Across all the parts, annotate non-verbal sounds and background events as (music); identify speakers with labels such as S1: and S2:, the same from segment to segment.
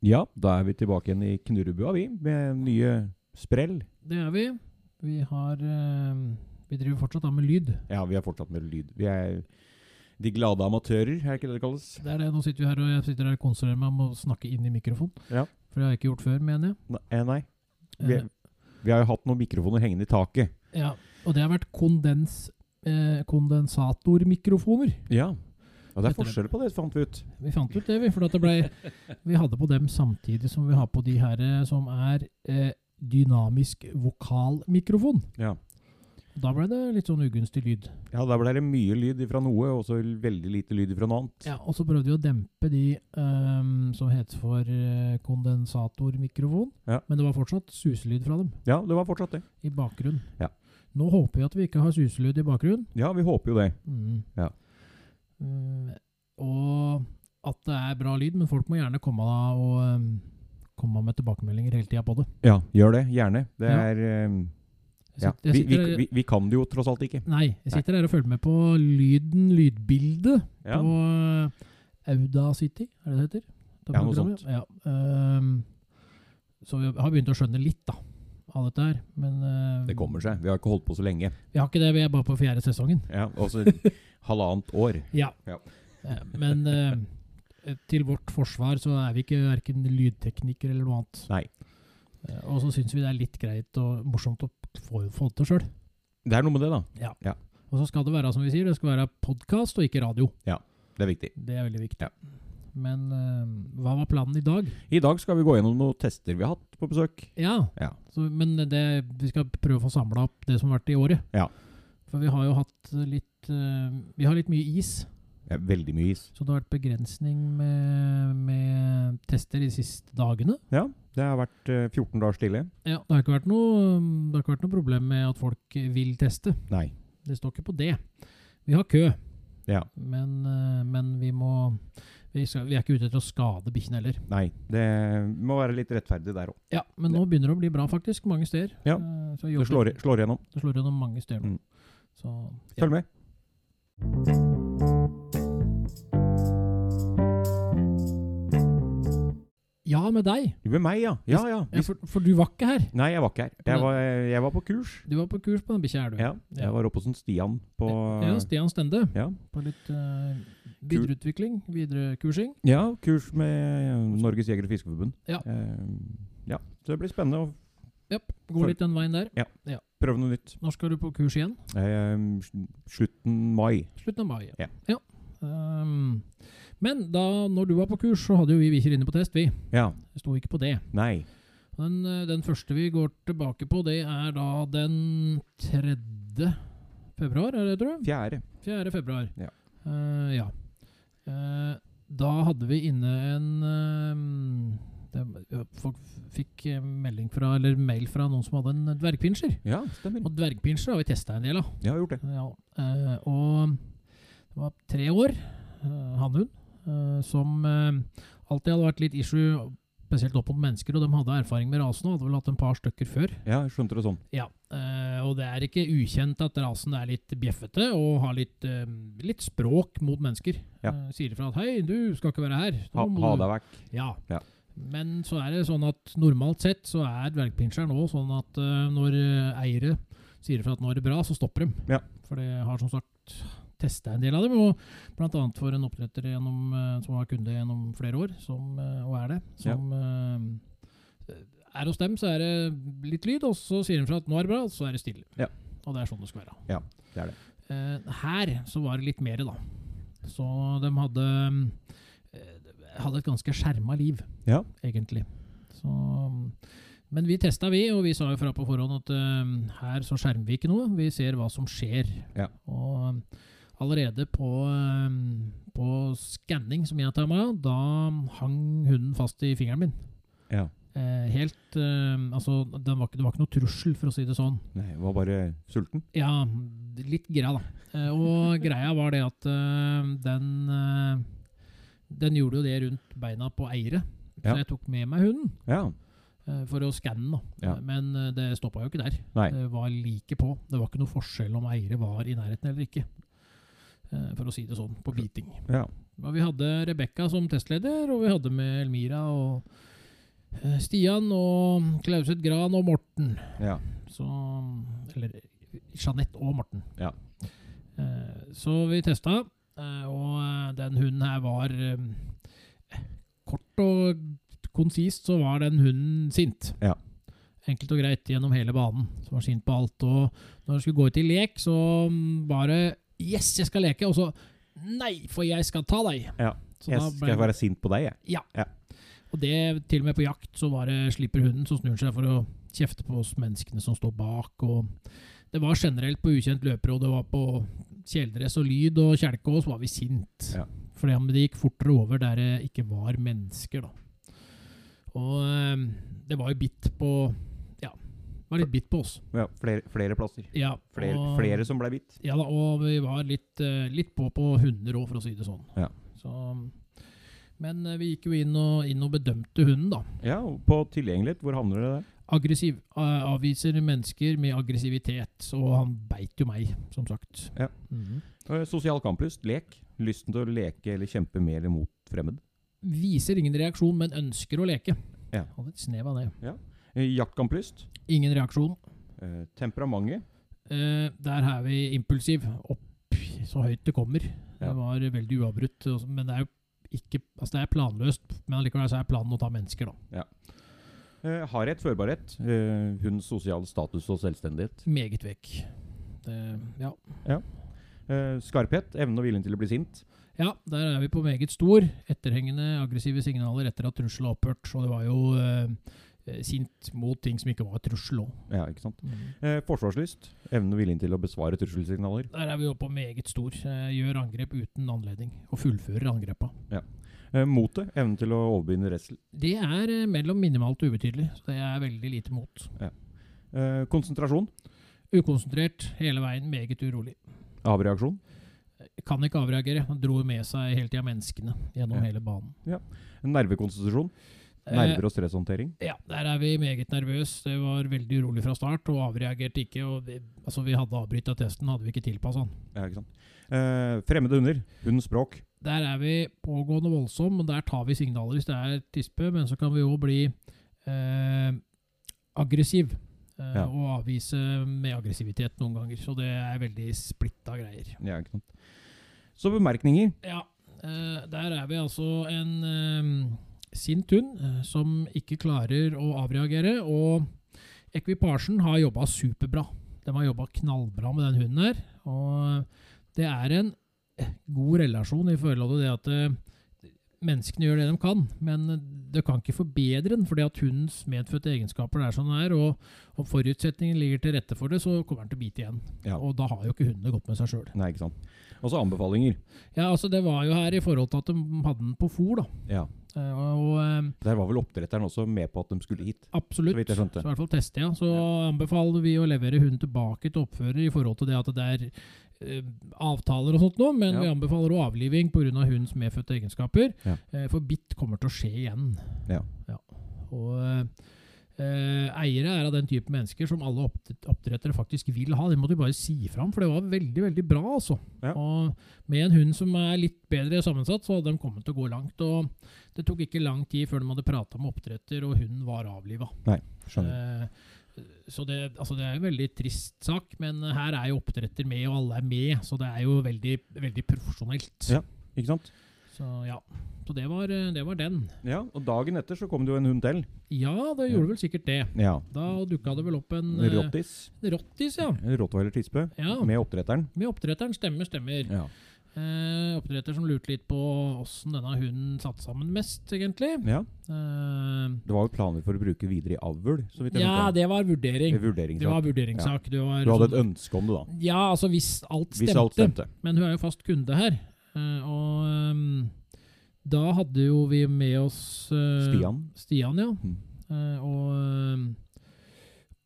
S1: Ja, da er vi tilbake igjen i knurrebua, vi, med nye sprell.
S2: Det er vi. Vi har eh, Vi driver fortsatt da med lyd.
S1: Ja, vi er fortsatt med lyd. Vi er de glade amatører, er det ikke det det kalles?
S2: Det er det, Nå sitter vi her og jeg sitter her og konsentrerer meg om å snakke inn i mikrofonen.
S1: Ja.
S2: For det har jeg ikke gjort før, mener jeg.
S1: Nei, eh, nei. Vi,
S2: Eh,
S1: vi har jo hatt noen mikrofoner hengende i taket.
S2: ja. Og det har vært kondens, eh, kondensatormikrofoner.
S1: Ja. Og det
S2: Heter det.
S1: er forskjell på det, fant vi ut.
S2: Vi fant ut det, vi. For at det ble, vi hadde på dem samtidig som vi har på de her eh, som er eh, dynamisk vokalmikrofon.
S1: Ja.
S2: Da ble det litt sånn ugunstig lyd.
S1: Ja, der ble det mye lyd ifra noe, og så veldig lite lyd ifra noe annet.
S2: Ja, Og så prøvde vi å dempe de ehm, som heter for eh, kondensatormikrofon.
S1: Ja.
S2: Men det var fortsatt suselyd fra dem
S1: Ja, det var fortsatt det.
S2: i bakgrunnen.
S1: Ja.
S2: Nå håper vi at vi ikke har suselyd i bakgrunnen.
S1: Ja, vi håper jo det.
S2: Mm.
S1: Ja.
S2: Mm, og at det er bra lyd, men folk må gjerne komme da og ehm, komme med tilbakemeldinger hele tida på det.
S1: Ja, gjør det. Gjerne. Det
S2: Ja.
S1: er eh,
S2: Jeg
S1: ja.
S2: sitter- jeg
S1: vi, vi,
S2: sitter her-
S1: vi, vi kan det jo tross alt ikke.
S2: Nei, jeg sitter her og følger med på lyden, lydbildet
S1: Ja.
S2: på eh, Audacity, er det det heter? Det
S1: Ja, noe
S2: programmet.
S1: sånt.
S2: Ja, ehm, så vi har begynt å skjønne litt da, av dette her. Men eh,
S1: Det kommer seg. Vi har ikke holdt på så lenge.
S2: vi har ikke det, vi er bare på fjerde sesongen.
S1: Ja,
S2: (laughs)
S1: altså halvannet år.
S2: Ja.
S1: Ja.
S2: Eh, men eh, til vårt forsvar så er vi ikke verken lydteknikere eller noe annet.
S1: Nei.
S2: Eh, og så syns vi det er litt greit og morsomt å få, få det til sjøl.
S1: Det er noe med det, da.
S2: Og så skal det være som vi sier, det skal være podkast og ikke radio.
S1: Det er viktig.
S2: Det er veldig viktig.
S1: Ja.
S2: Men eh, hva var planen i dag?
S1: I dag skal vi gå gjennom noen tester vi har hatt på besøk.
S2: Ja,
S1: Ja.
S2: Så, men det, vi skal prøve å få samla opp det som har vært i året.
S1: Ja.
S2: For vi har jo hatt litt eh, Vi har litt mye is,
S1: Det er veldig mye is.
S2: så det har vært begrensning med, med tester de siste dagene.
S1: Ja, det har vært eh, 14 dager stille.
S2: Ja, det har ikke vært noe, det har ikke vært noe problem med at folk vil teste.
S1: Nei.
S2: Det står ikke på det. Vi har kø,
S1: Ja.
S2: men, eh, men vi må vi, skal, vi er ikke ute etter å skade bikkjene heller.
S1: Nei. Det må være litt rettferdig der òg.
S2: Ja, men nå begynner det å bli bra, faktisk, mange steder.
S1: Ja.
S2: Eh, så
S1: Det
S2: jobber-
S1: slår, slår igjennom.
S2: Det slår gjennom mange steder nå.
S1: Mm.
S2: Så ja.
S1: Følg med.
S2: ja, med deg.
S1: Med meg, ja. Ja, ja.
S2: Ja, for, for du var ikke her.
S1: Nei, jeg var ikke her. Jeg var, jeg var på kurs.
S2: Du var på kurs på den bikkja, er du.
S1: Ja, jeg var oppe hos en Stian på
S2: Ja, Stian Stende.
S1: ja.
S2: På litt eh, videreutvikling, viderekursing.
S1: ja, kurs med Norges Jeger- og Fiskerforbund.
S2: Ja.
S1: Eh, ja. Så det blir spennende å
S2: Japp, Går
S1: Følg-
S2: litt den veien der.
S1: prøve noe nytt.
S2: Når skal du på kurs igjen?
S1: Eh, slutten mai.
S2: Slutten av mai.
S1: Ja.
S2: Ehm, men da når du var på kurs, så hadde jo vi bikkjer inne på test, vi.
S1: Ja.
S2: Det sto ikke på det.
S1: Nei.
S2: Den, eh, den første vi går tilbake på, det er da den 3. februar, er det, tror jeg?
S1: Fjerde.
S2: 4. februar.
S1: Ja.
S2: Eh, ja. Eh, da hadde vi inne en eh, det, ja, Folk fikk eh, melding fra, eller mail fra noen som hadde en dvergpinsjer.
S1: Ja, stemmer.
S2: Og dvergpinsjer har vi testa en del av.
S1: Jeg har gjort det.
S2: Ja, eh, og det var tre år, eh, hannhund, eh, som eh, alltid hadde vært litt issue, spesielt opp mot mennesker, og de hadde erfaring med rasen og hadde vel hatt en par stykker før.
S1: Ja, jeg skjønte det sånn.
S2: Ja, eh, og det er ikke ukjent at rasen er litt bjeffete og har litt, eh, litt språk mot mennesker.
S1: Ja.
S2: Eh, Sier ifra at 'hei, du skal ikke være her'.
S1: Ha,
S2: Nå må
S1: ha
S2: du-
S1: deg vekk.
S2: Ja.
S1: Ja.
S2: Men så er det sånn at normalt sett så er dvergpinsjeren òg sånn at eh, når eh, eiere sier ifra at nå er det bra, så stopper de.
S1: Ja.
S2: For det har som sagt testa en del av dem, og blant annet for en oppdretter gjennom, eh, som var kunde gjennom flere år, som, eh, og er det, som eh, er hos dem, så er det litt lyd, og så sier de fra at nå er det bra, og så er det stille.
S1: Ja.
S2: Og det er sånn det skal være.
S1: Ja, det er det.
S2: Eh, her så var det litt mer, da. Så de hadde, eh, hadde et ganske skjerma liv,
S1: Ja.
S2: egentlig. Så, men vi testa, vi, og vi sa jo fra på forhånd at eh, her så skjermer vi ikke noe. Vi ser hva som skjer.
S1: Ja.
S2: Og allerede på, eh, på skanning, som jeg tar meg av, da hang hunden fast i fingeren min.
S1: Ja.
S2: Eh, helt eh, Altså, den var ikke, det var ikke noe trussel, for å si det sånn.
S1: Nei, jeg var bare sulten.
S2: Ja, litt greia, da. Eh, Og greia var det at eh, den eh, Den gjorde jo det rundt beina på eiere. Så
S1: Ja.
S2: jeg tok med meg hunden
S1: Ja.
S2: eh, for å skanne den, da.
S1: Ja.
S2: Eh, Men eh, det stoppa jo ikke der.
S1: Nei.
S2: Det var like på. Det var ikke noe forskjell om eiere var i nærheten eller ikke. Eh, For å si det sånn, på biting.
S1: Ja.
S2: Og vi hadde Rebekka som testleder, og vi hadde med Elmira og eh, Stian og Klauset Gran og Morten.
S1: Ja.
S2: Så, eller Jeanette og Morten.
S1: Ja.
S2: Eh, så vi testa, eh, og eh, den hunden her var eh, Kort og konsist så var den hunden sint.
S1: Ja.
S2: Enkelt og greit gjennom hele banen. Så var sint på alt. Og når det skulle gå ut i lek, så mm, var det Yes, jeg skal leke! Og så Nei, for jeg skal ta deg!
S1: Ja.
S2: Så
S1: Jeg
S2: da ble-
S1: skal være sint på deg, jeg.
S2: og det, til og med på jakt, så var det slipper hunden som snur seg for å kjefte på oss menneskene som står bak. Og det var generelt på ukjent løper, og det var på kjeledress og lyd og kjelke, og så var vi sint.
S1: Ja.
S2: Fordi om det gikk fortere over der det ikke var mennesker, da. Og eh, det var jo bitt på Ja, det var litt bitt på oss.
S1: Ja, flere, flere plasser.
S2: Ja,
S1: Flere,
S2: og-
S1: flere som ble bitt.
S2: ja da, og vi var litt, eh, litt på på hunder òg, for å si det sånn.
S1: Ja.
S2: Så, men eh, vi gikk jo inn og, inn og bedømte hunden, da.
S1: Ja, og på tilgjengelighet, hvor havner det der?
S2: aggressiv, eh, avviser mennesker med aggressivitet, og han beit jo meg, som sagt.
S1: Ja.
S2: Mhm.
S1: Eh, Sosial kamplyst, lek. Lysten til å leke eller kjempe med eller mot fremmed.
S2: Viser ingen reaksjon, men ønsker å leke.
S1: Ja.
S2: Hadde et snev av det.
S1: Eh, Jaktkamplyst.
S2: Ingen reaksjon.
S1: Eh, temperamentet.
S2: Eh, der er vi impulsiv, opp så høyt det kommer.
S1: Ja.
S2: Det var veldig uavbrutt, og så- men det er jo ikke, altså det er planløst, men allikevel så er planen å ta mennesker, da.
S1: Eh, hardhet, førbarhet. Eh, hundens sosiale status og selvstendighet.
S2: Meget vekk. Det, ja.
S1: Eh, skarphet. Evnen og viljen til å bli sint.
S2: Ja, der er vi på meget stor. Etterhengende aggressive signaler etter at trussel har opphørt. Så det var jo eh, sint mot ting som ikke var trussel òg.
S1: Ja, ikke sant? Eh, forsvarslyst. Evnen og viljen til å besvare trusselsignaler.
S2: Der er vi jo på meget stor. Eh, gjør angrep uten anledning, og fullfører angrepa.
S1: Eh, motet. Evnen til å overbegynne redsel.
S2: Det er eh, mellom minimalt og ubetydelig, så det er veldig lite mot.
S1: Eh, konsentrasjon.
S2: Ukonsentrert hele veien, meget urolig.
S1: Avreaksjon.
S2: Kan ikke avreagere. Han dro med seg hele tida menneskene gjennom
S1: Ja.
S2: hele banen.
S1: Nervekonstitusjon.
S2: Eh,
S1: Nerver og stresshåndtering.
S2: Ja, der er vi meget nervøse. Det var veldig urolig fra start og avreagerte ikke. Og vi, altså, vi hadde avbryta testen, hadde vi ikke tilpassa den.
S1: Ja, ikke sant? Eh, fremmede hunder. Hundens språk.
S2: Der er vi pågående voldsom, og der tar vi signaler hvis det er tispe, men så kan vi òg bli eh, aggressiv. Eh,
S1: Ja.
S2: Og avvise med aggressivitet noen ganger. Så det er veldig splitta greier.
S1: Ja, ikke sant? Så bemerkninger.
S2: Ja, eh, der er vi altså en eh, sint hund eh, som ikke klarer å avreagere. Og ekvipasjen har jobba superbra. De har jobba knallbra med den hunden her. Og det er en eh, god relasjon i forhold til det at eh, menneskene gjør det de kan, men det kan ikke forbedre den, fordi at hundens medfødte egenskaper er sånn den er, og om forutsetningen ligger til rette for det, så kommer den til å bite igjen.
S1: Ja.
S2: Og da har jo ikke hundene gått med seg sjøl.
S1: Nei, ikke sant. Og så anbefalinger.
S2: Ja, altså det var jo her i forhold til at de hadde den på fôr, da.
S1: Ja.
S2: Eh, Og, og eh,
S1: Der var vel oppdretteren også med på at de skulle hit.
S2: absolutt.
S1: Så vidt jeg skjønte.
S2: Så i hvert fall teste, ja. Så anbefaler vi å levere hunden tilbake til oppfører i forhold til det at det er eh, avtaler og sånt nå, men
S1: Ja.
S2: vi anbefaler også avliving pga. Av hundens medfødte egenskaper.
S1: Ja.
S2: Eh, For bitt kommer til å skje igjen.
S1: Ja.
S2: Og eh, eh, eiere er av den type mennesker som alle oppd- oppdrettere faktisk vil ha. Det må du bare si fra om, for det var veldig, veldig bra, altså.
S1: Ja.
S2: Og med en hund som er litt bedre sammensatt, så hadde de kommet til å gå langt. Og det tok ikke lang tid før de hadde prata med oppdretter, og hunden var avliva.
S1: Skjønner.
S2: Eh, Så det, altså det er en veldig trist sak, men her er jo oppdretter med, og alle er med. Så det er jo veldig, veldig profesjonelt.
S1: Ja. Ikke sant?
S2: Så ja, så det var, eh, det var den.
S1: Ja, og dagen etter så kom det jo en hund til.
S2: Ja, det gjorde vel sikkert det.
S1: Ja.
S2: Da dukka det vel opp en eh,
S1: Rottis.
S2: en rottis, ja.
S1: Rottweiler tispe.
S2: ja.
S1: Med oppdretteren.
S2: Med oppdretteren. Stemmer, stemmer.
S1: Ja.
S2: Eh, oppdretter som lurte litt på åssen denne hunden satt sammen mest, egentlig.
S1: ja.
S2: Eh,
S1: Det var jo planer for å bruke videre i avl, så vidt jeg
S2: ja,
S1: skjønte.
S2: det var vurdering.
S1: Eh, vurderingssak.
S2: Det var vurderingssak. Det var
S1: Du hadde
S2: sånn-
S1: et ønske om det, da.
S2: Ja, altså hvis alt stemte.
S1: Hvis alt stemte.
S2: Men hun er jo fast kunde her. eh, og ehm, da hadde jo vi med oss eh,
S1: Stian.
S2: Stian, ja.
S1: Mm.
S2: Eh, og, ehm,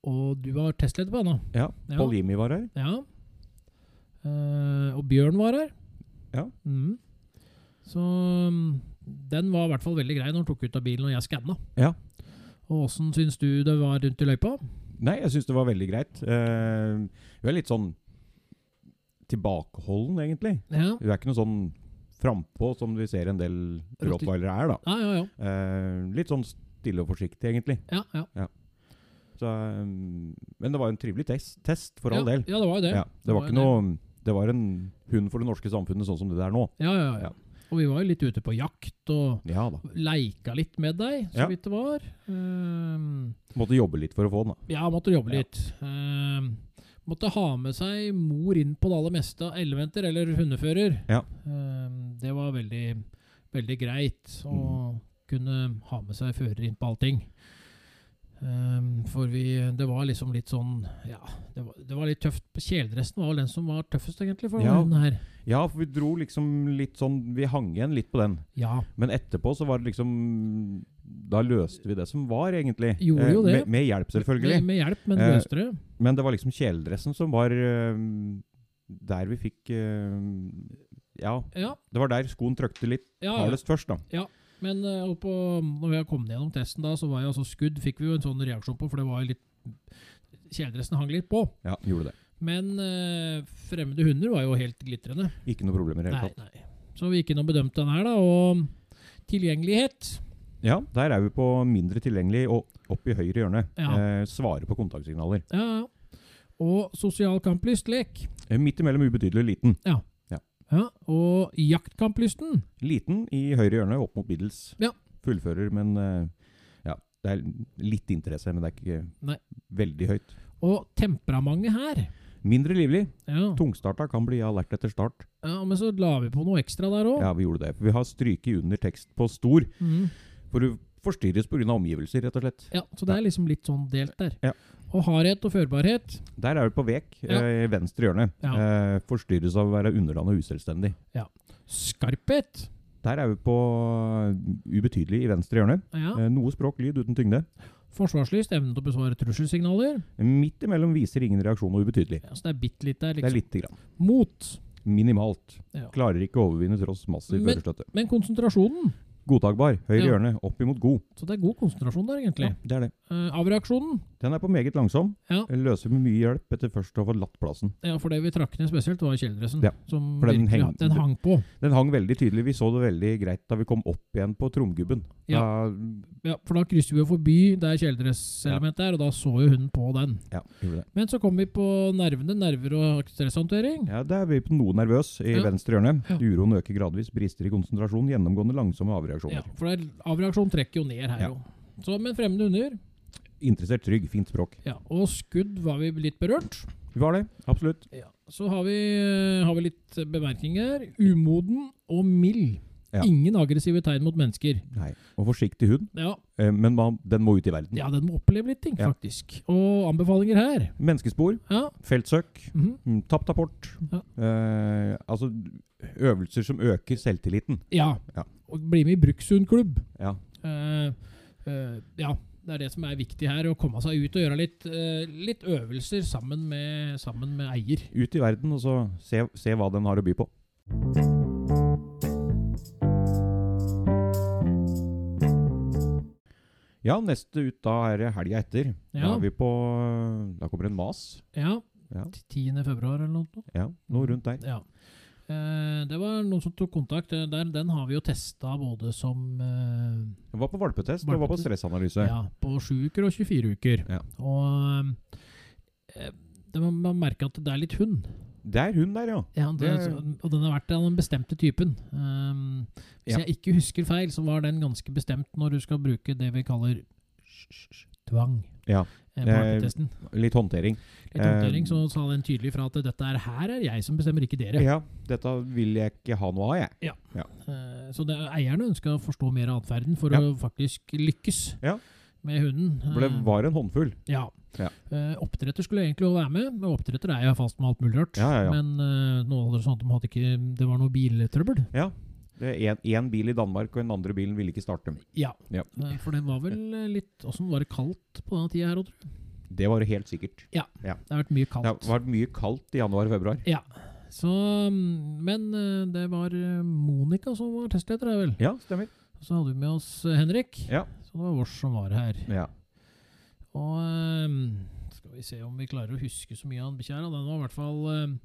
S2: og du var testleder på henne.
S1: Ja.
S2: Ja.
S1: Paul Jimmy var her.
S2: Ja. Eh, og Bjørn var her.
S1: Ja.
S2: Mm. Så mm, den var i hvert fall veldig grei når han tok ut av bilen og jeg skanna.
S1: Ja.
S2: Og åssen syns du det var rundt i løypa?
S1: Nei, jeg syns det var veldig greit. Eh, hun er litt sånn tilbakeholden, egentlig.
S2: Ja,
S1: Hun er ikke noe sånn frampå som vi ser en del rottweilere er, da.
S2: ja, ja. ja.
S1: Eh, litt sånn stille og forsiktig, egentlig.
S2: Ja, ja.
S1: Så, um, men det var en trivelig test, test for all
S2: ja,
S1: del.
S2: Ja, det var jo det.
S1: Ja, det var
S2: var
S1: ikke
S2: jo
S1: noe Det var en hund for det norske samfunnet, sånn som det er nå.
S2: Ja, ja, ja.
S1: Ja.
S2: Og vi var jo litt ute på jakt og
S1: Ja da.
S2: leika litt med deg, så
S1: Ja.
S2: vidt det var. Ehm,
S1: Måtte jobbe litt for å få den, da.
S2: ja, måtte jobbe
S1: Ja.
S2: litt. Ehm, måtte ha med seg mor inn på det aller meste av elventer eller hundefører.
S1: Ja.
S2: Ehm, det var veldig, veldig greit å
S1: Mm.
S2: kunne ha med seg fører inn på allting. Ehm, for vi, det var liksom litt sånn Ja, det var, det var litt tøft. Kjeledressen var vel den som var tøffest, egentlig, for
S1: Ja.
S2: den her.
S1: Ja, for vi dro liksom litt sånn Vi hang igjen litt på den.
S2: Ja.
S1: Men etterpå så var det liksom Da løste vi det som var, egentlig. Eh,
S2: Gjorde jo det.
S1: Med, med hjelp, selvfølgelig.
S2: Med, med hjelp, men
S1: Eh,
S2: løste det.
S1: Men det var liksom kjeledressen som var øhm, der vi fikk øhm, Ja,
S2: Ja,
S1: det var der skoen trøkte litt
S2: ja, ja.
S1: hardest først, da.
S2: Men eh, oppå, når vi har kommet gjennom testen, da, så var jo altså skudd Fikk vi jo en sånn reaksjon på, for det var jo litt Kjeledressen hang litt på.
S1: Ja, gjorde det.
S2: Men eh, fremmede hunder var jo helt glitrende.
S1: Ikke noe problemer i det
S2: Nei,
S1: hele tatt.
S2: nei. Så vi gikk inn og bedømte den her, da. Og tilgjengelighet
S1: Ja, der er vi på mindre tilgjengelig og opp i høyre hjørne.
S2: Ja.
S1: Eh, svare på kontaktsignaler.
S2: ja, ja. og sosial kamplystlek.
S1: Eh, Midt imellom ubetydelig liten.
S2: Ja, og jaktkamplysten.
S1: Liten i høyre hjørne, opp mot middels.
S2: Ja.
S1: Fullfører, men eh, ja, det er litt interesse, men det er ikke
S2: Nei.
S1: veldig høyt.
S2: Og temperamentet her.
S1: Mindre livlig.
S2: Ja.
S1: Tungstarta kan bli alert etter start.
S2: ja, Men så la vi på noe ekstra der òg.
S1: Ja, vi gjorde det. For vi har stryket under tekst på stor,
S2: Mm.
S1: for du forstyrres pga. omgivelser, rett og slett.
S2: Ja, så det er liksom litt sånn delt der.
S1: Ja.
S2: Og hardhet og førbarhet.
S1: Der er vi på vek,
S2: Ja.
S1: eh, venstre hjørne.
S2: Ja.
S1: Eh, forstyrres av å være underland og uselvstendig.
S2: Skarphet.
S1: Der er vi på eh, ubetydelig i venstre hjørne.
S2: Ja.
S1: Eh, Noe språk, lyd uten tyngde.
S2: Forsvarslyst, evnen til å besvare trusselsignaler.
S1: Midt imellom viser ingen reaksjon og ubetydelig.
S2: Ja, så det er bitte litt der,
S1: Det er
S2: liksom.
S1: lite grann.
S2: Mot.
S1: Minimalt.
S2: Ja.
S1: Klarer ikke å overvinne tross massiv
S2: Men-
S1: førerstøtte.
S2: Men konsentrasjonen.
S1: Godtakbar. Høyre
S2: Ja.
S1: hjørne. Opp imot god.
S2: Så det er god konsentrasjon der, egentlig.
S1: Ja, det er det.
S2: Eh, avreaksjonen.
S1: Den er på meget langsom.
S2: Ja.
S1: Løser med mye hjelp etter først å ha forlatt plassen.
S2: Ja, for det vi trakk ned spesielt, var kjeledressen.
S1: Ja,
S2: som
S1: for den
S2: virkelig-
S1: heng-
S2: den hang på.
S1: Den hang veldig tydelig. Vi så det veldig greit da vi kom opp igjen på tromgubben.
S2: Ja.
S1: Da,
S2: Ja, for da krysser vi jo forbi der kjeledresselementet er, og da så jo hun på den.
S1: ja, gjorde det.
S2: Men så kom vi på nervene, nerver og stresshåndtering.
S1: Ja, da er vi på noe nervøs i
S2: Ja.
S1: venstre hjørne.
S2: Ja.
S1: Uroen øker gradvis, brister i konsentrasjon, gjennomgående langsomme
S2: Ja,
S1: avreaksjoner.
S2: for det er- avreaksjon trekker jo ned her,
S1: Ja.
S2: jo. Så, men fremmede hunder
S1: Interessert, trygg, fint språk.
S2: Ja, og skudd var vi litt berørt.
S1: Vi var det, absolutt.
S2: Så har vi, eh, har vi litt bemerkninger. Umoden og mild.
S1: Ja.
S2: Ingen aggressive tegn mot mennesker.
S1: Nei. Og forsiktig hund,
S2: Ja,
S1: eh, men man, den må ut i verden.
S2: ja den må oppleve litt ting,
S1: Ja.
S2: faktisk. Og anbefalinger her.
S1: Menneskespor,
S2: Ja,
S1: feltsøk,
S2: mhm.
S1: mm, tapt apport.
S2: Ja.
S1: Eh, altså øvelser som øker selvtilliten.
S2: ja.
S1: Ja.
S2: Og bli med i Brukssundklubb.
S1: Ja.
S2: Eh, eh, ja, det er det som er viktig her. Å komme seg ut og gjøre litt, eh, litt øvelser sammen med, sammen med eier.
S1: Ut i verden og så se, se hva den har å by på. Ja, neste ut da er helga etter. Da
S2: Ja.
S1: er vi på Da kommer en mas.
S2: Ja.
S1: Ja.
S2: 10. februar eller noe.
S1: Ja, noe rundt der.
S2: Ja. Eh, det var noen som tok kontakt. eh, Der, den har vi jo testa både som eh,
S1: Den var på valpetest og var på
S2: Valpetest.
S1: stressanalyse.
S2: ja, på 7 uker og 24 uker.
S1: Ja.
S2: Og eh, det, man, man merker at det er litt hund.
S1: Det er hun der, ja.
S2: Ja, det,
S1: Det-
S2: og den har vært av den bestemte typen. Um, hvis
S1: Ja.
S2: jeg ikke husker feil, så var den ganske bestemt når du skal bruke det vi kaller tvang.
S1: Ja.
S2: eh, På
S1: Eh,
S2: artetesten.
S1: Litt håndtering.
S2: Litt håndtering,
S1: eh,
S2: så sa den tydelig fra at dette er her er jeg som bestemmer, ikke dere.
S1: Ja, dette vil jeg ikke ha noe av, jeg.
S2: Eh, Så det, eierne ønska å forstå mer av atferden for
S1: Ja.
S2: å faktisk lykkes
S1: Ja.
S2: med hunden. Eh,
S1: For det var en håndfull.
S2: ja.
S1: Ja.
S2: Eh, Oppdretter skulle egentlig også være med, men oppdretter er jo fast med alt mulig rart.
S1: Ja, ja, ja.
S2: Men eh, noe av det sånt, de hadde ikke, det var noe biltrøbbel.
S1: Ja. Det er én bil i Danmark, og den andre bilen ville ikke starte.
S2: Ja.
S1: Ja.
S2: Eh, For den var vel eh, litt Åssen var det kaldt på denne tida her òg, tror du?
S1: Det var helt sikkert.
S2: Det har vært mye
S1: Det har
S2: kaldt.
S1: vært mye kaldt i januar og februar.
S2: Så, mm, men eh, det var eh, Monica som var testleder her, vel.
S1: Ja, stemmer.
S2: Så hadde vi med oss eh, Henrik.
S1: Ja.
S2: Så det var vårs som var her.
S1: Ja.
S2: Og ehm, skal vi se om vi klarer å huske så mye av den bikkja her. da. Den var i hvert fall eh, ehm,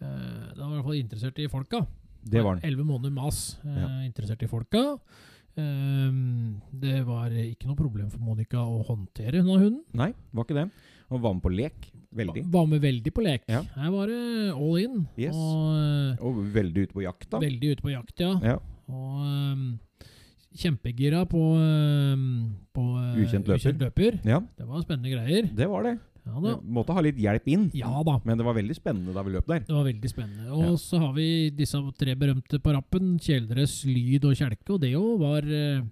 S2: eh, Den var i hvert fall interessert i folka.
S1: Det var den.
S2: Elleve måneder mas eh,
S1: Ja.
S2: interessert i folka. Ehm, det var ikke noe problem for Monica å håndtere denne hunden.
S1: Nei, var ikke det. Han var med på lek. Veldig.
S2: Var med veldig på lek.
S1: Ja.
S2: Her var det all in.
S1: Yes.
S2: Og
S1: Og veldig ute på jakt,
S2: eh,
S1: da.
S2: veldig ute på jakt, ja.
S1: Ja.
S2: Og ehm, kjempegira på, ehm, på eh,
S1: Ukjent løper.
S2: ukjent løper.
S1: ja,
S2: Det var spennende greier.
S1: det var det.
S2: Ja da.
S1: Måtte ha litt hjelp inn.
S2: Ja da.
S1: Men det var veldig spennende da vi løp der.
S2: Det var veldig spennende. Og
S1: Ja.
S2: så har vi disse tre berømte på rappen. Kjeledress, lyd og kjelke. Og det jo var eh,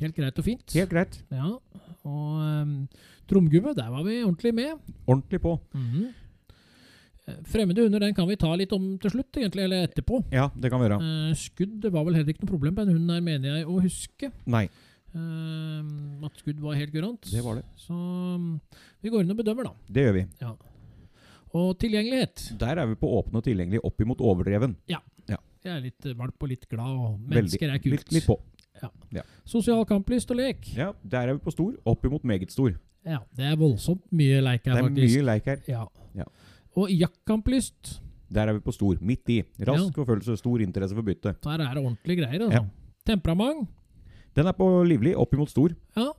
S2: helt greit og fint.
S1: Helt greit.
S2: Ja. Og um, tromgubbe, der var vi ordentlig med.
S1: Ordentlig på.
S2: Mhm. Eh, Fremmede hunder den kan vi ta litt om til slutt, egentlig, eller etterpå.
S1: Ja, det kan vi gjøre.
S2: Eh, skudd det var vel heller ikke noe problem på den hunden her, mener jeg å huske.
S1: Nei,
S2: Eh, at skudd var helt kurant.
S1: det var det.
S2: Så mm, vi går inn og bedømmer, da.
S1: Det gjør vi.
S2: Og tilgjengelighet.
S1: Der er vi på åpen og tilgjengelig opp imot overdreven.
S2: Jeg er litt eh, valp og litt glad, og
S1: Veldig.
S2: mennesker er kult.
S1: Litt, litt på.
S2: Sosial kamplyst og lek.
S1: Ja, Der er vi på stor opp imot meget stor.
S2: Ja, det er voldsomt mye leik
S1: Det
S2: her,
S1: er
S2: faktisk.
S1: mye leik her.
S2: Ja.
S1: Ja.
S2: Og jaktkamplyst.
S1: Der er vi på stor. Midt i. Rask forfølgelse, stor interesse for bytte.
S2: Der er det ordentlige greier, altså. Temperament.
S1: Den er på livlig opp imot stor.
S2: Ja.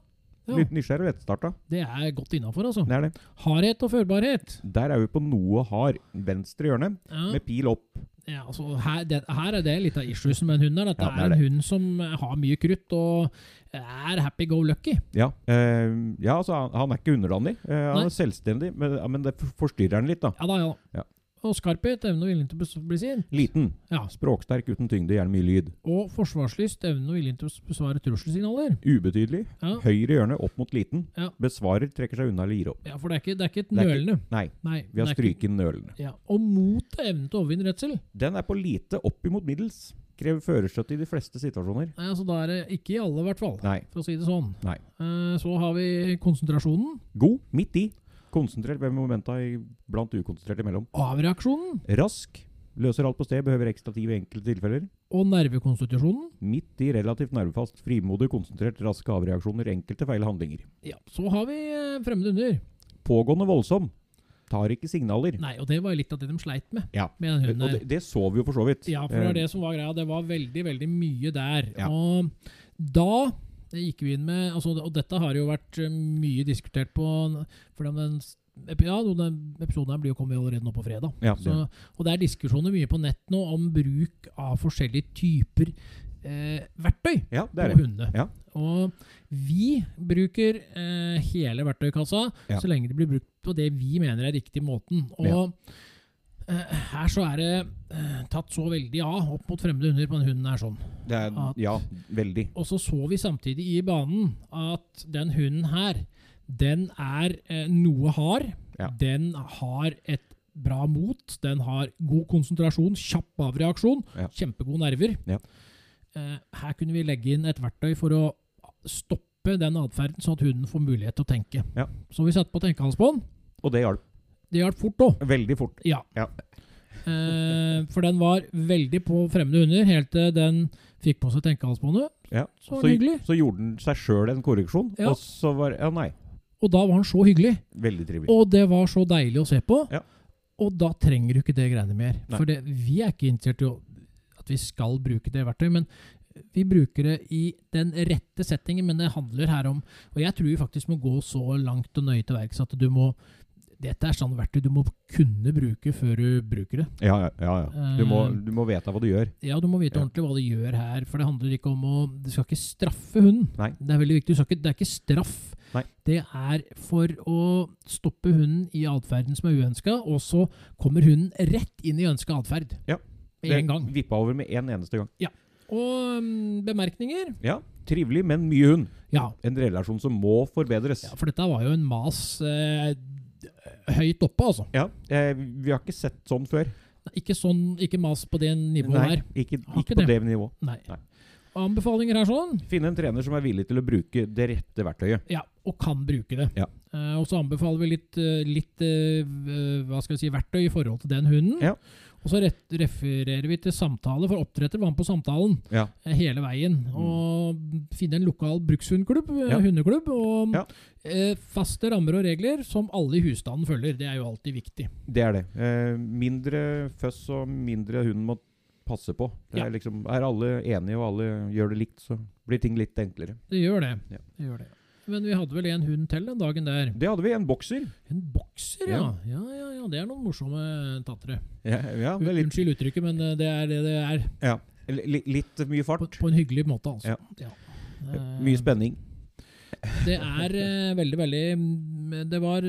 S2: ja.
S1: Litt nysgjerrig og lettstarta.
S2: Det er godt innafor, altså.
S1: Det er det.
S2: Hardhet og førbarhet.
S1: Der er vi på noe hard. Venstre hjørne
S2: Ja.
S1: med pil opp.
S2: Ja, altså, her, det, her er det litt av issuesen med en hund. her, At det
S1: Ja, det er
S2: er en
S1: det.
S2: hund som eh, har mye krutt og er happy go lucky.
S1: Ja, eh, ja altså han, han er ikke underdanig. Eh,
S2: Nei.
S1: han er selvstendig, men, ja, men det for- forstyrrer han litt, da.
S2: Ja da, ja. da.
S1: Ja.
S2: Og skarphet, evne og vilje til å bes- bli sint.
S1: Liten.
S2: Ja.
S1: Språksterk uten tyngde, gjerne mye lyd.
S2: Og forsvarslyst, evne og vilje til å besvare trusselsignaler.
S1: Ubetydelig.
S2: Ja.
S1: Høyre hjørne opp mot liten.
S2: Ja.
S1: Besvarer trekker seg unna eller gir opp.
S2: ja, for det er ikke, det er ikke et
S1: Det er ikke-
S2: nølende.
S1: Nei,
S2: Nei,
S1: vi har
S2: det er ikke-
S1: stryket nølende.
S2: Ja. Og mot er evnen til å overvinne redsel.
S1: Den er på lite opp imot middels. Krever førerstøtte i de fleste situasjoner.
S2: Nei, altså da er det ikke i alle, i hvert fall.
S1: Nei.
S2: For å si det sånn.
S1: Nei.
S2: Eh, Så har vi konsentrasjonen.
S1: God, midt i. Konsentrert ved momenta i- blant ukonsentrert imellom.
S2: Avreaksjonen.
S1: Rask. Løser alt på sted, behøver ekstra tid i enkelte tilfeller.
S2: Og nervekonstitusjonen.
S1: Midt i relativt nervefast, frimodig, konsentrert, raske avreaksjoner, enkelte feil handlinger.
S2: Ja, så har vi eh, fremmede hunder.
S1: Pågående voldsom. Tar ikke signaler.
S2: Nei, og det var litt av det de sleit med.
S1: Ja.
S2: Med den
S1: Og
S2: hunden
S1: det,
S2: her.
S1: det så vi jo for så vidt. Eh,
S2: Ja, for det var det som var greia. Det var veldig, veldig mye der.
S1: Ja.
S2: Og da gikk vi inn med altså, Og dette har jo vært eh, mye diskutert på For den, den, ja, den episoden her blir jo kommet allerede nå på fredag.
S1: Ja, det-
S2: Så, og det er diskusjoner mye på nett nå om bruk av forskjellige typer eh, verktøy
S1: ja, det
S2: på
S1: er det.
S2: hundene.
S1: Ja.
S2: Og vi bruker eh, hele verktøykassa
S1: Ja.
S2: så lenge det blir brukt på det vi mener er riktig måten. Og eh, her så er det eh, tatt så veldig av opp mot fremmede hunder på den hunden her sånn.
S1: det er ja, veldig.
S2: Og så så vi samtidig i banen at den hunden her, den er eh, noe hard.
S1: Ja.
S2: Den har et bra mot. Den har god konsentrasjon, kjapp avreaksjon,
S1: Ja.
S2: kjempegode nerver.
S1: Ja.
S2: Eh, her kunne vi legge inn et verktøy for å stoppe den atferden, sånn at hunden får mulighet til å tenke.
S1: Ja.
S2: Så vi satte på tenkehals-bånd.
S1: Og det hjalp
S2: Det hjalp fort òg.
S1: veldig fort.
S2: Ja.
S1: Ja.
S2: (laughs) Eh, for den var veldig på fremmede hunder helt til den fikk på seg tenkehalsbåndet.
S1: Ja.
S2: Så var det hyggelig.
S1: så gjorde den seg sjøl en korreksjon,
S2: Ja.
S1: og så var Ja, nei.
S2: Og da var han så hyggelig.
S1: Veldig trivelig.
S2: Og det var så deilig å se på.
S1: Ja.
S2: Og da trenger du ikke det greiene mer.
S1: Nei.
S2: For det, vi er ikke interessert i å- at vi skal bruke det verktøyet, men vi bruker det i den rette settingen. Men det handler her om Og jeg tror vi faktisk må gå så langt og nøye til verks at du må dette er sånn verktøy du må kunne bruke før du bruker det.
S1: Ja, ja, ja. ja. Du, må,
S2: Eh.
S1: du må vite hva du gjør.
S2: Ja, Du må vite
S1: Ja.
S2: ordentlig hva du gjør her. For det handler ikke om å Du skal ikke straffe hunden.
S1: Nei.
S2: Det er veldig viktig. Du skal ikke, det er ikke straff.
S1: Nei.
S2: Det er for å stoppe hunden i atferden som er uønska, og så kommer hunden rett inn i ønska atferd.
S1: Ja.
S2: Med en gang.
S1: Vippa over med en eneste gang.
S2: Og mm, bemerkninger?
S1: Ja. Trivelig, men mye hund.
S2: Ja.
S1: En relasjon som må forbedres.
S2: ja. For dette var jo en mas eh, høyt oppe, altså.
S1: Ja, eh, Vi har ikke sett sånn før.
S2: Ikke, sånn, ikke mas på det nivået her.
S1: ikke,
S2: Har
S1: ikke
S2: ikke
S1: på det nivået.
S2: Nei.
S1: Nei.
S2: Anbefalinger her sånn?
S1: Finne en trener som er villig til å bruke det rette verktøyet.
S2: Ja, og kan bruke det.
S1: Ja.
S2: Eh, og så anbefaler vi litt, eh, litt eh, v- hva skal vi si, verktøy i forhold til den hunden.
S1: Ja.
S2: Og så rett, refererer vi til samtale, for oppdretter var med på samtalen
S1: Ja. Mm.
S2: eh, hele veien. Og finne en lokal brukshundklubb, eh,
S1: Ja.
S2: hundeklubb, og
S1: Ja.
S2: eh, faste rammer og regler som alle i husstanden følger. Det er jo alltid viktig.
S1: Det er det. Eh, mindre føss og mindre hund må passe på. Det
S2: Ja.
S1: er, liksom, er alle enige og alle gjør det likt, så blir ting litt enklere.
S2: Det gjør det.
S1: Ja.
S2: det gjør det. Men vi hadde vel en hund til den dagen der.
S1: Det hadde vi. En bokser.
S2: En bokser, ja. Ja, ja, ja. Det er noen morsomme tattere.
S1: Ja, ja det er litt,
S2: Unnskyld uttrykket, men eh, det er det det er.
S1: li- li- litt mye
S2: På,
S1: fart.
S2: på en hyggelig måte, altså.
S1: Ja.
S2: Ja. Eh,
S1: Mye spenning.
S2: Det er
S1: (laughs)
S2: eh, veldig, veldig mm, Det var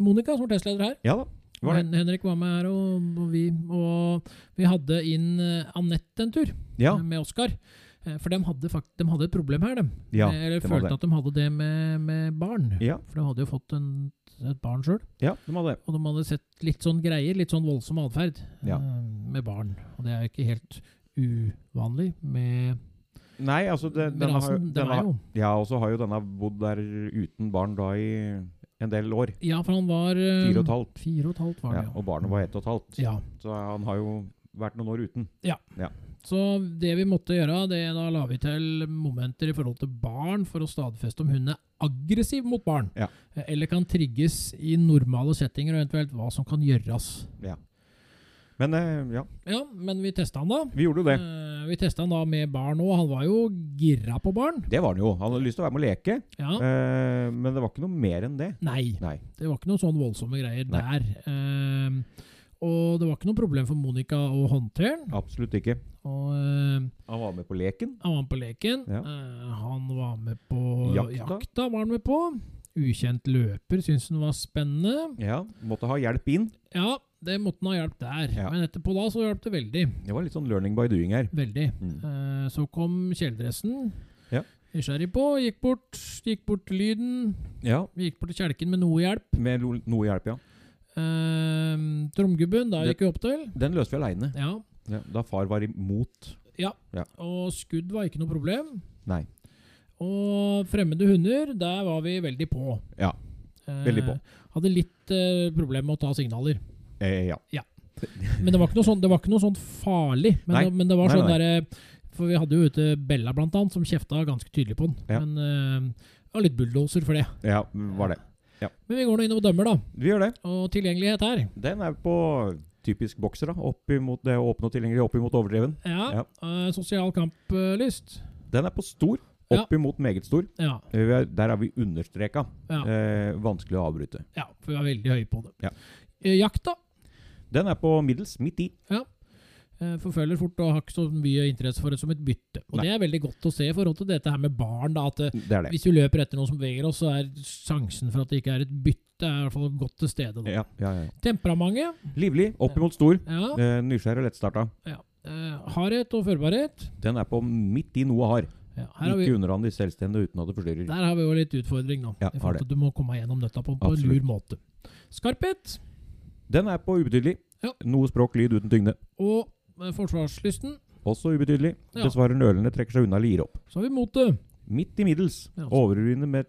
S2: Monica som var testleder her.
S1: Ja da. Var det.
S2: Hen Henrik var med her, og, og vi. Og vi hadde inn eh, Anette en tur
S1: Ja.
S2: eh, med Oskar. Eh, For de hadde, fakt de hadde et problem her, de.
S1: ja.
S2: Eh, Eller
S1: de hadde
S2: følte
S1: det.
S2: at de hadde det med, med barn.
S1: Ja.
S2: For de hadde jo fått en, et barn sjøl.
S1: Ja, de hadde det.
S2: Og de hadde sett litt sånn greier, litt sånn voldsom atferd
S1: Ja.
S2: eh, med barn. Og det er jo ikke helt uvanlig med
S1: Nei, altså det,
S2: med
S1: denne, har,
S2: rasen. Den
S1: denne,
S2: er jo
S1: Ja, og så har jo denne bodd der uten barn da i en del år.
S2: Ja, for han var eh,
S1: Fire og et halvt.
S2: Fire og et halvt var
S1: Ja,
S2: han, ja.
S1: og barnet var ett og et halvt.
S2: ja.
S1: Så han har jo vært noen år uten.
S2: Så det vi måtte gjøre, det da la vi til momenter i forhold til barn for å stadfeste om hunden er aggressiv mot barn,
S1: Ja.
S2: eh, eller kan trigges i normale settinger, og eventuelt hva som kan gjøres.
S1: Men eh, ja,
S2: Ja, men vi testa han da.
S1: vi gjorde jo det.
S2: Eh, Vi testa han da med barn òg. Han var jo gira på barn.
S1: Det var han jo. Han hadde lyst til å være med og leke,
S2: Mm. Ja.
S1: eh, men det var ikke noe mer enn det.
S2: Nei.
S1: Nei.
S2: Det var ikke noen sånn voldsomme greier
S1: Nei.
S2: der. Ehm, og det var ikke noe problem for Monica å håndtere den.
S1: Absolutt ikke.
S2: Og ehm,
S1: Han var med på leken.
S2: han var med på leken.
S1: Ja.
S2: Eh, han var med på
S1: Jakta.
S2: jakta. var han med på. Ukjent løper syntes han var spennende.
S1: Ja, Måtte ha hjelp inn.
S2: Ja, det måtte han ha hjelp der.
S1: Ja.
S2: Men etterpå da så hjalp det veldig.
S1: Det var litt sånn learning by doing her.
S2: Veldig.
S1: Mm.
S2: Eh, så kom kjeledressen.
S1: Ja.
S2: Nysgjerrig på. Gikk bort. Gikk bort til lyden.
S1: Ja,
S2: Gikk bort til kjelken med noe hjelp.
S1: Med lo- noe hjelp, ja.
S2: Uh, Tromgubben, da
S1: Det-
S2: gikk vi opp til.
S1: Den løste vi aleine.
S2: Ja,
S1: Ja, da far var imot.
S2: Og skudd var ikke noe problem.
S1: Nei.
S2: Og fremmede hunder, der var vi veldig på.
S1: Ja, veldig på.
S2: Eh, hadde litt eh, problem med å ta signaler.
S1: Eh, ja.
S2: Men det var ikke noe sånn, det var ikke noe sånn farlig. Men,
S1: Nei.
S2: det, men det var
S1: Nei,
S2: sånn
S1: nei.
S2: derre For vi hadde jo ute Bella, blant annet, som kjefta ganske tydelig på den.
S1: Ja.
S2: Men eh, det var litt bulldoser for det.
S1: ja, var det.
S2: Men vi går nå inn og dømmer, da.
S1: Vi gjør det.
S2: Og tilgjengelighet her.
S1: Den er på typisk bokser, da. Opp imot det åpne og tilgjengelig, opp imot overdreven.
S2: Ja.
S1: Ja.
S2: eh, sosial kamplyst.
S1: Den er på stor, opp imot meget stor.
S2: Ja.
S1: Eh, vi er- Der er vi understreka.
S2: Ja.
S1: Eh, vanskelig å avbryte.
S2: ja. For vi var veldig høye på det.
S1: Ja.
S2: Eh, jakt, da.
S1: Den er på middels, midt i.
S2: Eh, forfølger fort og har ikke så mye interesse for det som et bytte. Og
S1: Nei.
S2: Det er veldig godt å se i forhold til dette her med barn. da, at eh,
S1: Det er det.
S2: Hvis du løper etter noen som beveger oss, så er sjansen for at det ikke er et bytte, er i hvert fall godt til stede. Da.
S1: Ja, ja, ja.
S2: Temperamentet
S1: Livlig, opp imot stor.
S2: ja.
S1: Eh, nysgjerrig og lettstarta.
S2: Eh, hardhet og førbarhet.
S1: Den er på midt i noe hard.
S2: Ja, her har vi,
S1: Ikke underhandlig, selvstendig uten at det forstyrrer.
S2: der har vi jo litt utfordring, da.
S1: Ja,
S2: i
S1: har
S2: forhold til at du må komme gjennom dette på, på en
S1: Absolutt.
S2: lur måte. Skarphet
S1: Den er på ubetydelig.
S2: Ja.
S1: Noe språk, lyd uten tyngde.
S2: og eh, forsvarslysten.
S1: Også ubetydelig.
S2: Ja.
S1: Besvarer nølende, trekker seg unna eller gir opp.
S2: Så har vi motet.
S1: Midt i middels.
S2: Ja, altså.
S1: Overruende med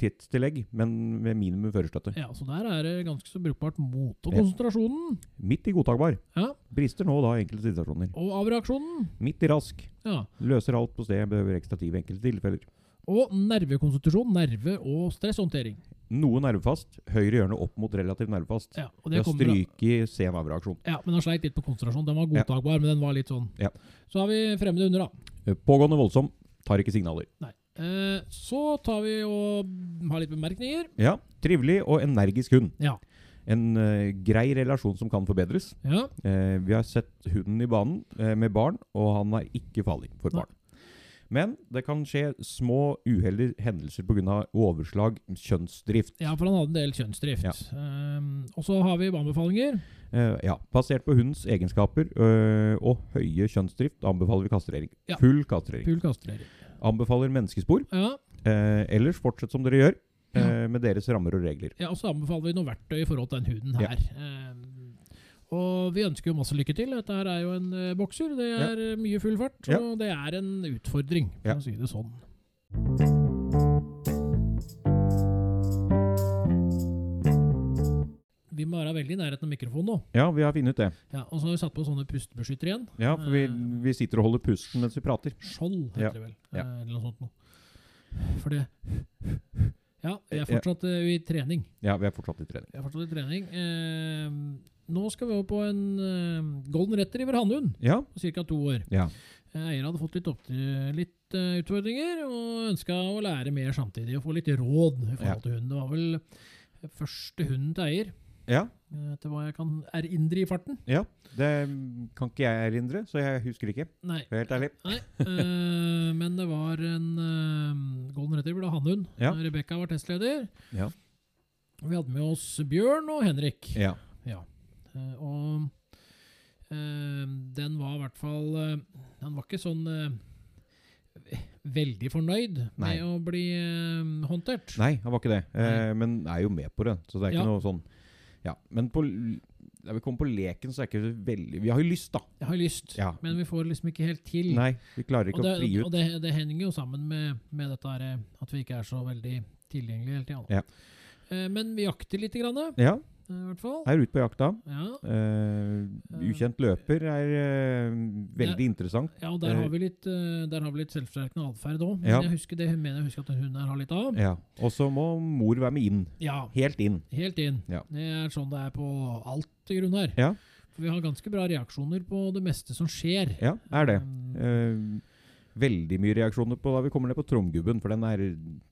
S1: tidstillegg, men med minimum førerstøtte.
S2: Ja, så der er det ganske så brukbart mot. Og
S1: Ja.
S2: konsentrasjonen.
S1: Midt i godtakbar.
S2: Ja.
S1: Brister nå da enkelte situasjoner.
S2: Og avreaksjonen.
S1: Midt i rask.
S2: Ja.
S1: Løser alt på stedet, behøver ekstra tid ved enkelte tilfeller.
S2: Og nervekonstitusjon, nerve- og stresshåndtering.
S1: Noe nervefast. Høyre hjørne opp mot relativt nervefast.
S2: Ja, og
S1: Det
S2: det
S1: å
S2: kommer da.
S1: stryke i sen avreaksjon.
S2: Ja, men han sleit litt på konsentrasjon. Den var godtakbar, men den var litt sånn.
S1: Ja.
S2: Så har vi fremmede hunder, da.
S1: Eh, Pågående voldsom. Tar ikke signaler.
S2: Nei. Eh, så tar vi og har litt bemerkninger.
S1: Ja, Trivelig og energisk hund.
S2: Ja.
S1: En eh, grei relasjon som kan forbedres.
S2: Ja.
S1: Eh, vi har sett hunden i banen eh, med barn, og han er ikke farlig for
S2: Nei.
S1: barn. Men det kan skje små uheldige hendelser pga. overslag, kjønnsdrift.
S2: ja, for han hadde en del kjønnsdrift.
S1: Ja.
S2: Ehm, og så har vi anbefalinger.
S1: Eh, ja, Basert på hundens egenskaper øh, og høye kjønnsdrift anbefaler vi kastrering.
S2: Ja.
S1: Full kastrering.
S2: Pul kastrering.
S1: Anbefaler menneskespor.
S2: Ja.
S1: Eh, ellers fortsett som dere gjør, eh, med deres rammer og regler.
S2: ja, og så anbefaler vi noe verktøy i forhold til den huden
S1: Ja.
S2: her. Ehm, og vi ønsker jo masse lykke til. Dette her er jo en eh, bokser. Det
S1: Ja.
S2: er eh, mye full fart,
S1: Ja.
S2: og det er en utfordring, for
S1: Ja.
S2: å si det sånn. Vi må være veldig i nærheten av mikrofonen nå.
S1: Ja, vi har funnet ut det.
S2: Ja, og så har vi satt på sånne pustebeskyttere igjen.
S1: Ja, for vi,
S2: Mm.
S1: vi sitter og holder pusten mens vi prater.
S2: Skjold heter
S1: Ja,
S2: det vel.
S1: ja.
S2: eh, Eller noe sånt noe. For det Ja, vi
S1: Ja.
S2: er fortsatt eh, i trening.
S1: Ja, vi er fortsatt i trening.
S2: Vi er fortsatt i trening. Eh, Nå skal vi over på en eh, golden retriever hannhund
S1: Ja.
S2: på ca. to år.
S1: ja.
S2: Eier hadde fått litt, oppdre- litt eh, utfordringer og ønska å lære mer samtidig og få litt råd i forhold
S1: Ja.
S2: til hunden. Det var vel første hunden til eier,
S1: Ja,
S2: eh, etter hva jeg kan erindre i farten.
S1: ja. Det mm, kan ikke jeg erindre, så jeg husker ikke.
S2: Nei.
S1: for å være Helt ærlig.
S2: Nei,
S1: (laughs)
S2: eh, men det var en eh, golden retriever, da, hannhund.
S1: Ja.
S2: Rebekka var testleder.
S1: Ja.
S2: Og Vi hadde med oss Bjørn og Henrik.
S1: Ja.
S2: Eh, og eh, den var i hvert fall eh, Den var ikke sånn eh, veldig fornøyd
S1: Nei.
S2: med å bli eh, håndtert.
S1: Nei, han var ikke det. Eh, men er jo med på det, så det er ikke
S2: Ja.
S1: noe sånn Ja. Men på, l- da vi kommer på leken, så er ikke det veldig Vi har jo lyst, da.
S2: Jeg har lyst,
S1: Ja.
S2: men vi får liksom ikke helt til.
S1: Nei, vi klarer ikke
S2: og
S1: å
S2: det,
S1: fri ut.
S2: og det, det henger jo sammen med, med dette her, eh, at vi ikke er så veldig tilgjengelige hele tida.
S1: Ja.
S2: Eh, men vi jakter lite grann, eh,
S1: Ja,
S2: i hvert fall.
S1: er ute på jakta.
S2: Ja.
S1: Eh, ukjent løper er eh, veldig interessant.
S2: ja, og der har vi litt, eh, der har vi litt selvforsterkende atferd òg. Men
S1: Ja.
S2: jeg husker det mener jeg husker at hun her har litt av.
S1: Ja. Og så må mor være med inn.
S2: Ja,
S1: Helt inn.
S2: Helt inn.
S1: Ja.
S2: Det er sånn det er på alt i grunn her.
S1: Ja.
S2: For vi har ganske bra reaksjoner på det meste som skjer.
S1: Ja, er det. Eh,
S2: Um,
S1: veldig mye reaksjoner på da vi kommer ned på Tromgubben, for den er,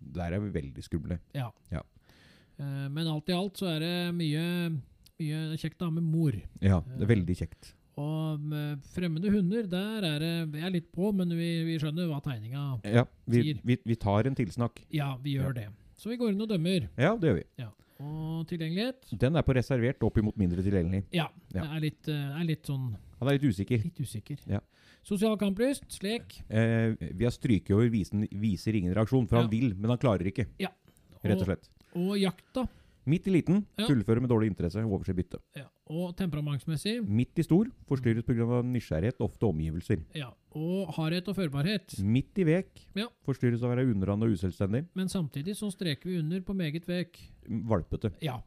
S1: der er vi veldig skumle.
S2: eh, Men alt i alt så er det mye, mye kjekt å ha med mor.
S1: Ja, det er veldig kjekt.
S2: Og med fremmede hunder, der er det Jeg er litt på, men vi, vi skjønner hva tegninga
S1: Ja, vi,
S2: Sier.
S1: vi, vi tar en tilsnakk.
S2: Ja, vi gjør det. Så vi går inn og dømmer.
S1: Ja, det gjør vi.
S2: Og tilgjengelighet
S1: Den er på reservert opp imot mindre tilgjengelig.
S2: Ja.
S1: Ja.
S2: Det er litt, eh, er litt sånn
S1: Han er litt usikker.
S2: Litt usikker.
S1: Ja.
S2: Sosial kamplyst, slek.
S1: Eh, vi har stryket over visen, viser ingen reaksjon, for
S2: Ja.
S1: han vil, men han klarer ikke, rett og slett.
S2: Og, og jakta.
S1: Midt i liten,
S2: Ja.
S1: fullfører med dårlig interesse, overser bytte.
S2: Ja. Og temperamentsmessig.
S1: Midt i stor, forstyrret pga. nysgjerrighet, ofte omgivelser.
S2: Ja, og hardhet og førbarhet.
S1: Midt i vek,
S2: Ja.
S1: forstyrres av å være underhånd og uselvstendig.
S2: Men samtidig så streker vi under på meget vek.
S1: Valpete.
S2: Ja.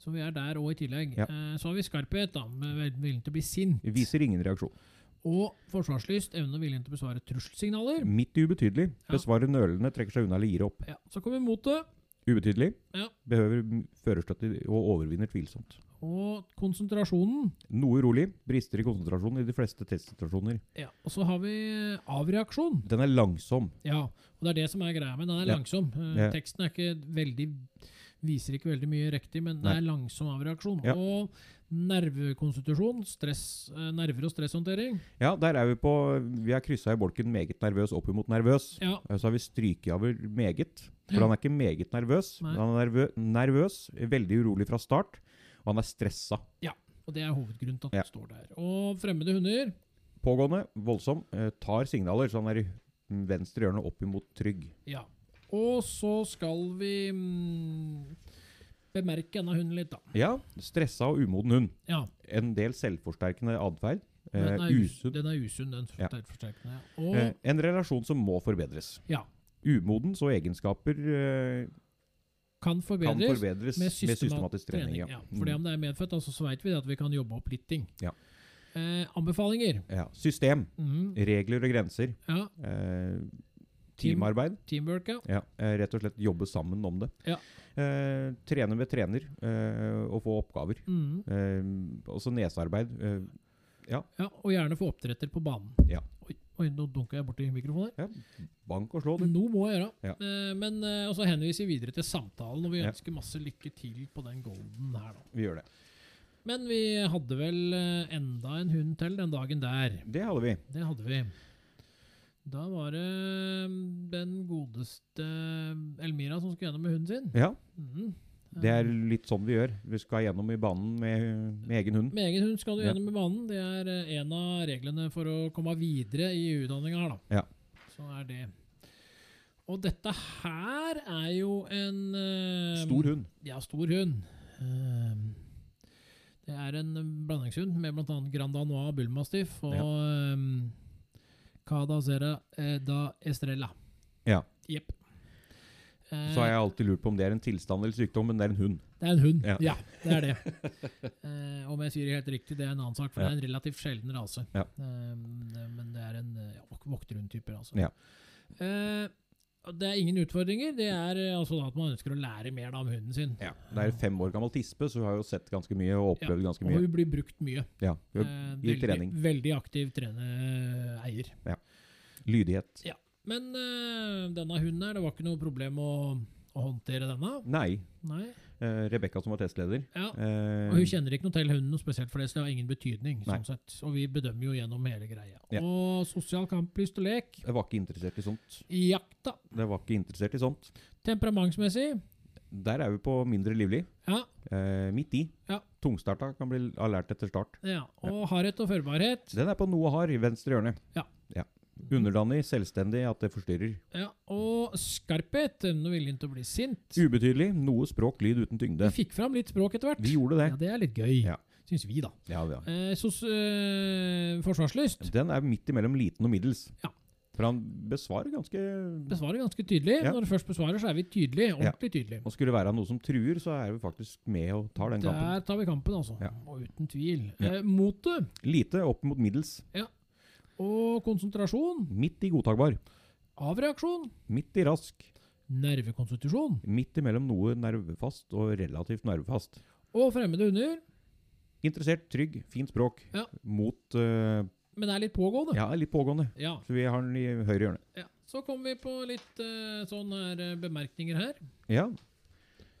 S2: Så vi er der òg i tillegg.
S1: Ja.
S2: Eh, så har vi skarphet, da, med vel- viljen til å bli sint.
S1: Viser ingen reaksjon.
S2: Og forsvarslyst, evne og viljen til å besvare trusselsignaler.
S1: Midt i ubetydelig, besvarer nølende, trekker seg unna eller gir opp.
S2: Ja, Så kommer motet
S1: Ubetydelig,
S2: Ja.
S1: behøver m- førerstøtte og overvinner tvilsomt.
S2: og konsentrasjonen.
S1: Noe urolig, brister i konsentrasjonen i de fleste testsituasjoner.
S2: Ja, Og så har vi eh, avreaksjon.
S1: Den er langsom.
S2: Ja, og det er det som er greia med den. Den er
S1: Ja.
S2: langsom. Eh,
S1: Ja.
S2: Teksten er ikke veldig Viser ikke veldig mye riktig, men det
S1: Nei.
S2: er langsom avreaksjon.
S1: Ja.
S2: Og nervekonstitusjon, stress, eh, nerver og stresshåndtering.
S1: Ja, der er vi på Vi har kryssa i bolken meget nervøs opp imot nervøs.
S2: Ja,
S1: Og Så har vi stryket over meget. For han er ikke meget nervøs.
S2: Nei.
S1: Men han er nervø nervøs, veldig urolig fra start, og han er stressa.
S2: Og det er hovedgrunnen til at den
S1: Ja.
S2: står der. Og fremmede hunder
S1: Pågående, voldsom, eh, tar signaler, så han er i venstre hjørne opp imot trygg.
S2: Ja. Og så skal vi mm, bemerke denne hunden litt, da.
S1: Ja, stressa og umoden hund.
S2: Ja.
S1: En del selvforsterkende atferd. Eh,
S2: Den er, us
S1: usunn.
S2: den er usunn, den
S1: Ja.
S2: selvforsterkende. Og
S1: Eh, en relasjon som må forbedres.
S2: ja,
S1: Umoden, så egenskaper eh, kan
S2: kan forbedres.
S1: forbedres med systematisk, trening. ja.
S2: Fordi
S1: Mm.
S2: om det er medfødt, altså, så veit vi at vi kan jobbe opp litt ting.
S1: Ja.
S2: Eh, anbefalinger.
S1: ja. System,
S2: Mhm.
S1: regler og grenser.
S2: Ja,
S1: Eh, teamarbeid.
S2: teamwork, ja.
S1: Ja, eh, rett og slett jobbe sammen om det.
S2: Ja.
S1: Eh, trene med trener eh, og få oppgaver.
S2: Mhm.
S1: Eh, også nesearbeid. Eh,
S2: ja. Og gjerne få oppdretter på banen.
S1: Ja.
S2: Oi, oi nå dunka jeg borti mikrofonen. her.
S1: ja, bank og slå, du.
S2: Noe må jeg gjøre.
S1: Ja.
S2: Eh, men eh, og så henviser vi videre til samtalen, og vi
S1: Ja.
S2: ønsker masse lykke til på den golden her, da.
S1: Vi gjør det.
S2: Men vi hadde vel eh, enda en hund til den dagen der.
S1: Det hadde vi.
S2: Det hadde vi. Da var det mm, den godeste eh, Elmira som skulle gjennom med hunden sin.
S1: Ja,
S2: Mhm.
S1: Det er
S2: Eh,
S1: litt sånn vi gjør. Vi skal gjennom i banen med, med egen hund.
S2: Med egen Eh, hund skal du
S1: Ja.
S2: gjennom med banen. Det er eh, en av reglene for å komme videre i utdanninga her, da.
S1: Ja.
S2: Så er det. Og dette her er jo en eh,
S1: Stor hund.
S2: Ja, stor hund. Ehm, Det er en blandingshund med bl.a. Grand Anois Bullmastiff og
S1: Ja.
S2: ehm, Cada Zera eh, da Estrella.
S1: Ja.
S2: Jepp.
S1: Så har jeg
S2: mm.
S1: alltid lurt på om det er en tilstand eller sykdom, men det er en hund.
S2: Det er en hund. Ja,
S1: Ja.
S2: det er det. (laughs) Eh, om jeg sier det helt riktig, det er en annen sak, for
S1: Ja.
S2: det er en relativt sjelden rase. Ehm,
S1: Ja.
S2: Eh, men det er en eh, vok- vokterhundtype, altså.
S1: Ja.
S2: Eh, Det er ingen utfordringer. Det er eh, altså da at man ønsker å lære mer da, om hunden sin.
S1: Ja. Det er en fem år gammel tispe, så hun har jo sett ganske mye og opplevd ganske
S2: Og
S1: mye.
S2: hun blir brukt mye.
S1: Ja. Hun har
S2: Eh,
S1: i
S2: veldig,
S1: trening.
S2: veldig aktiv trene eier.
S1: Lydighet.
S2: Men eh, denne hunden her, det var ikke noe problem å, å håndtere denne.
S1: Nei.
S2: Nei.
S1: Uh, Rebekka, som var testleder
S2: Ja.
S1: eh,
S2: Og hun kjenner ikke noe til hunden noe spesielt, for det så det har ingen betydning.
S1: Nei.
S2: sånn sett. Og vi bedømmer jo gjennom hele greia.
S1: Ja.
S2: Og sosial kamplyst og lek.
S1: Jeg var ikke interessert i sånt.
S2: Jakta.
S1: Jeg var ikke interessert i sånt.
S2: Temperamentsmessig.
S1: Der er vi på mindre livlig.
S2: Ja.
S1: Eh, midt i.
S2: Ja.
S1: Tungstarta kan bli alert etter start.
S2: ja. Og hardhet og førbarhet.
S1: Den er på noe hard i venstre hjørne.
S2: Ja.
S1: Underdanig, selvstendig, at det forstyrrer.
S2: Ja. Og skarphet. Evnen og viljen til å bli sint.
S1: Ubetydelig, noe språk, lyd uten tyngde.
S2: Vi fikk fram litt språk etter hvert.
S1: Vi gjorde det.
S2: Ja, det er litt gøy.
S1: Ja.
S2: Syns vi, da.
S1: Ja, ja.
S2: Eh, sos, eh, forsvarslyst.
S1: Den er midt imellom liten og middels.
S2: Ja.
S1: For han besvarer ganske
S2: Besvarer ganske tydelig.
S1: Ja.
S2: Når du først besvarer, så er vi tydelige.
S1: Ja.
S2: Ordentlig tydelige.
S1: Og skulle det være noe som truer, så er vi faktisk med og tar den kampen.
S2: Der tar vi kampen, altså.
S1: Ja.
S2: Og uten tvil.
S1: Ja.
S2: Eh, Motet
S1: Lite opp mot middels.
S2: og konsentrasjon.
S1: Midt i godtakbar.
S2: Avreaksjon.
S1: Midt i rask.
S2: Nervekonstitusjon.
S1: Midt imellom noe nervefast og relativt nervefast.
S2: Og fremmede hunder.
S1: Interessert, trygg, fint språk.
S2: Ja.
S1: Mot eh,
S2: Men er litt pågående.
S1: Ja, litt pågående.
S2: Ja.
S1: Så vi har den i høyre hjørne.
S2: ja. Så kommer vi på litt eh, sånne her, eh, bemerkninger her.
S1: Ja.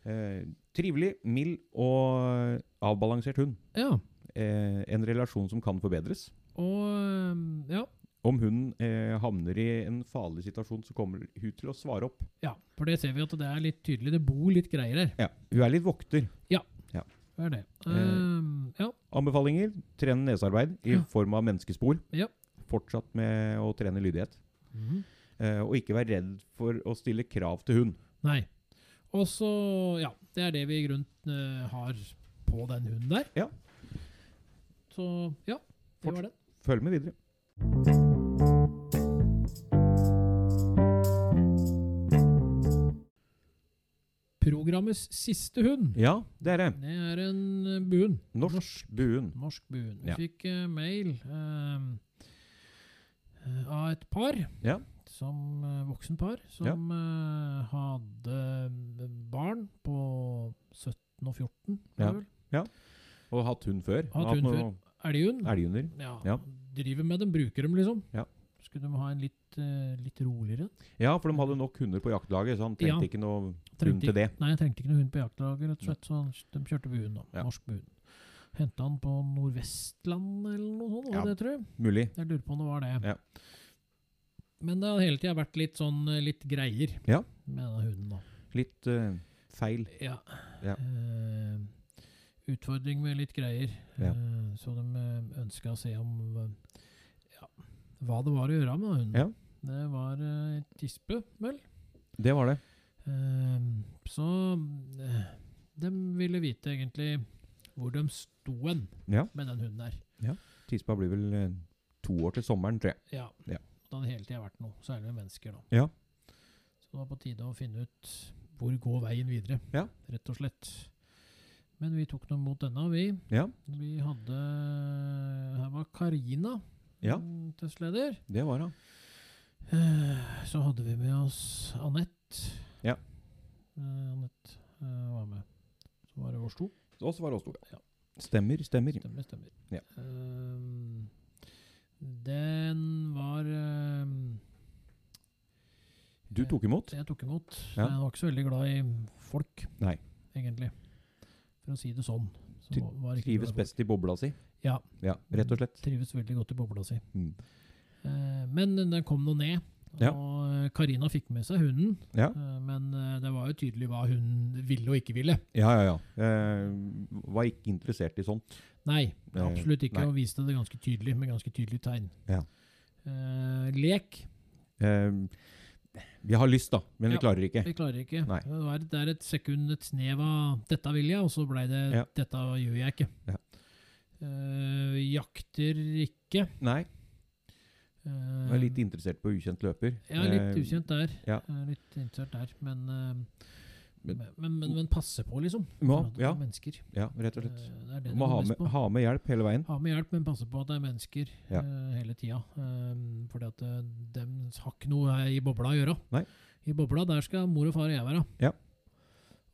S1: Eh, trivelig, mild og avbalansert hund.
S2: Ja.
S1: Eh, en relasjon som kan forbedres.
S2: Og eh, ja.
S1: Om hunden eh, havner i en farlig situasjon, så kommer hun til å svare opp.
S2: ja. For det ser vi at det er litt tydelig. Det bor litt greier her.
S1: Ja. Hun er litt vokter.
S2: Hva er det?
S1: Eh,
S2: Eh, ja.
S1: Anbefalinger trene nesearbeid i
S2: Ja.
S1: form av menneskespor.
S2: Ja.
S1: Fortsatt med å trene lydighet. Eh, og ikke være redd for å stille krav til hund.
S2: Nei. Og så Ja. Det er det vi i grunnen eh, har på den hunden der.
S1: Ja.
S2: Så ja. Det
S1: Forts-
S2: var det.
S1: Følg med videre.
S2: Programmets siste hund.
S1: Ja, det er det.
S2: Det er en eh, buen.
S1: Norsk, buen.
S2: Norsk buen. Vi
S1: Ja.
S2: fikk eh, mail eh, eh, av et par,
S1: Ja.
S2: som eh, voksen par, som
S1: Ja.
S2: eh, hadde eh, barn på 17 og 14,
S1: Ja.
S2: ja. vel?
S1: Og hatt hund før.
S2: Hatt hund
S1: noe
S2: Elghund.
S1: Elghunder.
S2: Ja.
S1: Ja.
S2: Driver med dem, bruker dem, liksom.
S1: Ja.
S2: Skulle de ha en litt, eh, litt roligere?
S1: Ja, for de hadde nok hunder på jaktlaget, så han
S2: Ja.
S1: trengte ikke noe hund til det.
S2: Nei, jeg trengte ikke noe hund på jaktlaget, rett og slett, så de kjørte buen, da.
S1: Ja.
S2: Norsk buen. Henta han på Nordvestland eller noe sånt, var
S1: Ja.
S2: det, tror jeg.
S1: Mulig.
S2: Jeg lurer på om det var det.
S1: Ja.
S2: Men det har hele tida vært litt sånn eh, litt greier
S1: Ja.
S2: med denne hunden, da.
S1: Litt eh, feil.
S2: Ja.
S1: Ja.
S2: Eh, utfordring med litt greier.
S1: Ja.
S2: Eh, så de ønska å se om eh, ja, hva det var å gjøre med hunden.
S1: Ja.
S2: Det var eh, tispe, vel.
S1: Det var det.
S2: Eh, så eh, de ville vite egentlig hvor de sto hen
S1: Ja.
S2: med den hunden der.
S1: Tispa blir vel eh, to år til sommeren, tror jeg.
S2: Ja.
S1: Ja.
S2: Det hadde hele tida vært noe, særlig med mennesker. da.
S1: Ja.
S2: Så det var på tide å finne ut hvor går veien videre,
S1: Ja.
S2: rett og slett. Men vi tok noe mot denne, vi.
S1: Ja,
S2: Vi hadde Her var Karina,
S1: Ja.
S2: mm, testleder.
S1: det var han.
S2: Eh, Så hadde vi med oss Anette.
S1: Ja.
S2: Eh, Anette eh, var med. Så var det vår to.
S1: Så oss var det oss to.
S2: Ja.
S1: Stemmer, stemmer.
S2: Stemmer, stemmer.
S1: Ja.
S2: Ehm, den var ehm,
S1: Du tok imot?
S2: Det jeg tok imot.
S1: Ja.
S2: Jeg var ikke så veldig glad i folk,
S1: Nei.
S2: egentlig. For å si det sånn. Så
S1: Tri-
S2: var- var ikke
S1: Trives
S2: glad i folk.
S1: best i bobla si?
S2: Ja.
S1: Ja, rett og slett.
S2: Trives veldig godt i bobla si.
S1: Mm.
S2: Eh, men den kom nå ned.
S1: Ja.
S2: Og eh, Karina fikk med seg hunden,
S1: Ja.
S2: eh, men eh, det var jo tydelig hva hun ville og ikke ville.
S1: Ja, ja, ja. Eh, var ikke interessert i sånt.
S2: Nei,
S1: Eh,
S2: absolutt ikke.
S1: nei.
S2: Og viste det ganske tydelig, med ganske tydelige tegn.
S1: Ja.
S2: Eh, lek
S1: Eh, vi har lyst, da, men
S2: Ja.
S1: vi klarer ikke.
S2: Vi klarer ikke.
S1: Nei.
S2: Det, var, det er et sekund, et snev av 'dette vil jeg', og så blei det
S1: Ja.
S2: 'dette gjør jeg ikke'.
S1: Ja.
S2: Eh, jakter ikke.
S1: Nei.
S2: Uh,
S1: Jeg er litt interessert på ukjent løper.
S2: Ja,
S1: Eh,
S2: litt ukjent der.
S1: ja.
S2: Eh, Litt interessert der. Men, eh,
S1: Men-
S2: men, men, men, passe på, liksom.
S1: Må,
S2: For at det er
S1: ja,
S2: mennesker.
S1: ja, rett og
S2: Eh,
S1: slett.
S2: Det er det du
S1: Må
S2: må
S1: ha
S2: mest
S1: med,
S2: på.
S1: ha med hjelp hele veien.
S2: Ha med hjelp, men passe på at det er mennesker
S1: Ja.
S2: eh, hele tida. Um, fordi at eh, dem har ikke noe her i bobla å gjøre.
S1: Nei.
S2: I bobla der skal mor og far og jeg være.
S1: Ja.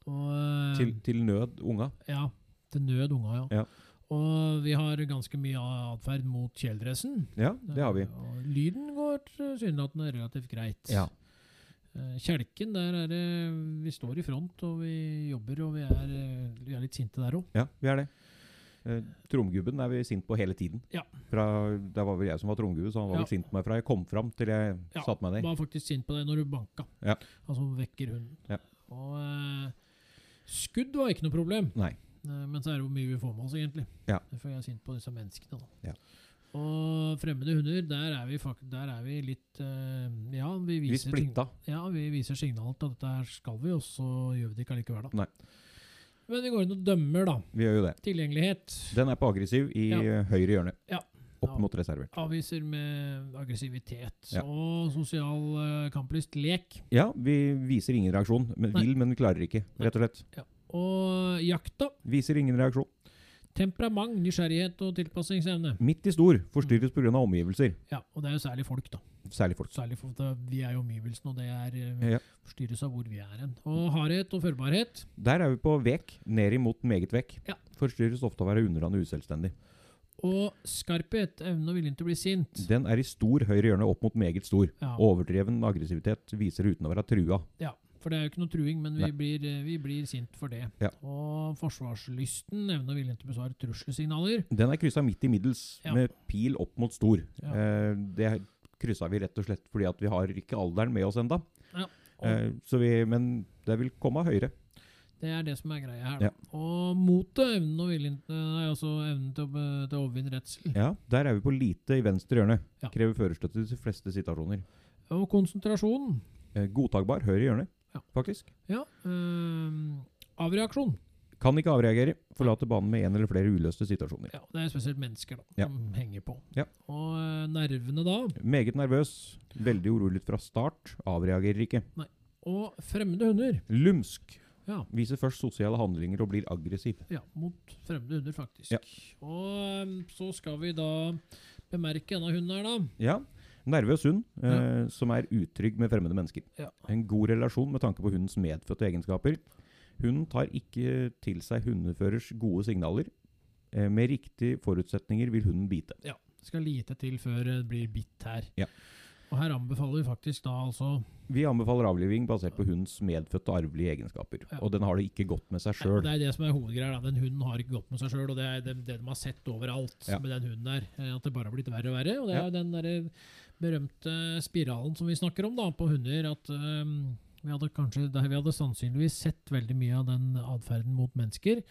S2: Og, eh,
S1: Til, til nød unga.
S2: Ja, til nød unga, ja.
S1: Ja.
S2: Og vi har ganske mye atferd mot kjeledressen.
S1: Ja, det har vi.
S2: Og lyden går tilsynelatende relativt greit.
S1: Ja.
S2: Eh, Kjelken, der er det Vi står i front, og vi jobber, og vi er, eh, vi er litt sinte der òg.
S1: Ja, vi er det. Eh, Tromgubben er vi sint på hele tiden.
S2: Ja.
S1: Fra, det var vel jeg som var tromgubbe, så han var
S2: Ja.
S1: vel sint på meg fra jeg kom fram til jeg
S2: Ja,
S1: satte meg ned.
S2: Var faktisk sint på deg når du banka.
S1: Ja.
S2: Altså vekker hunden.
S1: Ja.
S2: Og eh, skudd var ikke noe problem,
S1: Nei.
S2: eh, men så er det hvor mye vi får med oss, egentlig.
S1: Ja.
S2: Derfor er jeg sint på disse menneskene. Da.
S1: Ja.
S2: Og fremmede hunder, der er vi, fak der er vi litt eh, Ja, vi
S1: Vi
S2: viser, sign-
S1: splitta.
S2: ja, vi viser signaler til at dette her skal vi, og så gjør vi det ikke allikevel, da.
S1: Nei.
S2: Men vi går inn og dømmer, da.
S1: Vi gjør jo det.
S2: Tilgjengelighet.
S1: Den er på aggressiv i
S2: Ja.
S1: eh, høyre hjørne.
S2: Ja.
S1: Opp
S2: Ja.
S1: mot reservert.
S2: Avviser med aggressivitet.
S1: Ja.
S2: Og sosial eh, kamplyst. Lek.
S1: Ja, vi viser ingen reaksjon. Men
S2: Nei.
S1: vil, men klarer ikke,
S2: Nei.
S1: rett og slett.
S2: Og jakta.
S1: Viser ingen reaksjon.
S2: Temperament, nysgjerrighet og tilpasningsevne.
S1: Midt i stor
S2: Mm.
S1: forstyrres pga. omgivelser.
S2: Ja, og det er jo særlig folk, da.
S1: Særlig folk.
S2: Særlig for det, Vi er jo omgivelsen, og det er eh,
S1: Ja.
S2: forstyrres av hvor vi er hen. Og hardhet og førbarhet.
S1: Der er vi på vek, ned imot meget vekk.
S2: Ja.
S1: Forstyrres ofte av å være underlandet uselvstendig.
S2: Og skarphet, evne og viljen til å bli sint.
S1: Den er i stor høyre hjørne opp mot meget stor.
S2: Ja,
S1: Overdreven aggressivitet viser uten å være trua.
S2: ja, for det er jo ikke noe truing, men vi
S1: Nei.
S2: blir, eh, vi blir sint for det.
S1: Ja.
S2: Og forsvarslysten, evne og viljen til å besvare trusselsignaler.
S1: Den er kryssa midt i middels,
S2: Ja.
S1: med pil opp mot stor.
S2: Ja.
S1: Eh, det kryssa vi rett og slett fordi at vi har ikke alderen med oss enda.
S2: Ja.
S1: Eh, så vi, men det vil komme høyere.
S2: Det er det som er greia her. da. Og motet, evnen og viljen til, nei, altså evnen til å, be- til å overvinne redsel.
S1: Ja, Der er vi på lite i venstre hjørne.
S2: Ja.
S1: Krever førerstøtte til de fleste situasjoner.
S2: Og konsentrasjon.
S1: Eh, godtakbar høyre hjørne,
S2: Ja.
S1: faktisk.
S2: Ja. eh, avreaksjon.
S1: Kan ikke avreagere. Forlate banen med én eller flere uløste situasjoner.
S2: Ja, det er spesielt mennesker da,
S1: Ja.
S2: som henger på.
S1: Ja.
S2: Og eh, nervene da,
S1: Meget nervøs. Veldig urolig fra start. Avreagerer ikke.
S2: og fremmede hunder.
S1: Lumsk.
S2: Ja,
S1: Viser først sosiale handlinger og blir aggressiv.
S2: ja mot fremmede hunder faktisk.
S1: Ja.
S2: Og eh, så skal vi da bemerke en av hundene her da.
S1: Ja. Nervøs hund eh, som er utrygg med fremmede mennesker.
S2: Ja.
S1: En god relasjon med tanke på hundens medfødte egenskaper. Hunden tar ikke til seg hundeførers gode signaler. Eh, med riktige forutsetninger vil hunden bite.
S2: Skal lite til før det blir bitt her.
S1: Ja.
S2: Og her anbefaler vi faktisk da altså,
S1: Vi anbefaler avliving basert på hundens medfødte arvelige egenskaper.
S2: Ja.
S1: Og den har det ikke godt med seg
S2: Nei, og
S1: sjøl.
S2: det er det som er hovedgreier da, den hunden har ikke gått med seg selv, og det er det, det de har sett overalt
S1: Ja.
S2: med den hunden der, eh, at det bare har blitt verre og verre, og det
S1: Ja.
S2: er jo den der berømte spiralen som vi snakker om da, på hunder, at eh, vi hadde kanskje, da vi hadde sannsynligvis sett veldig mye av den adferden mot mennesker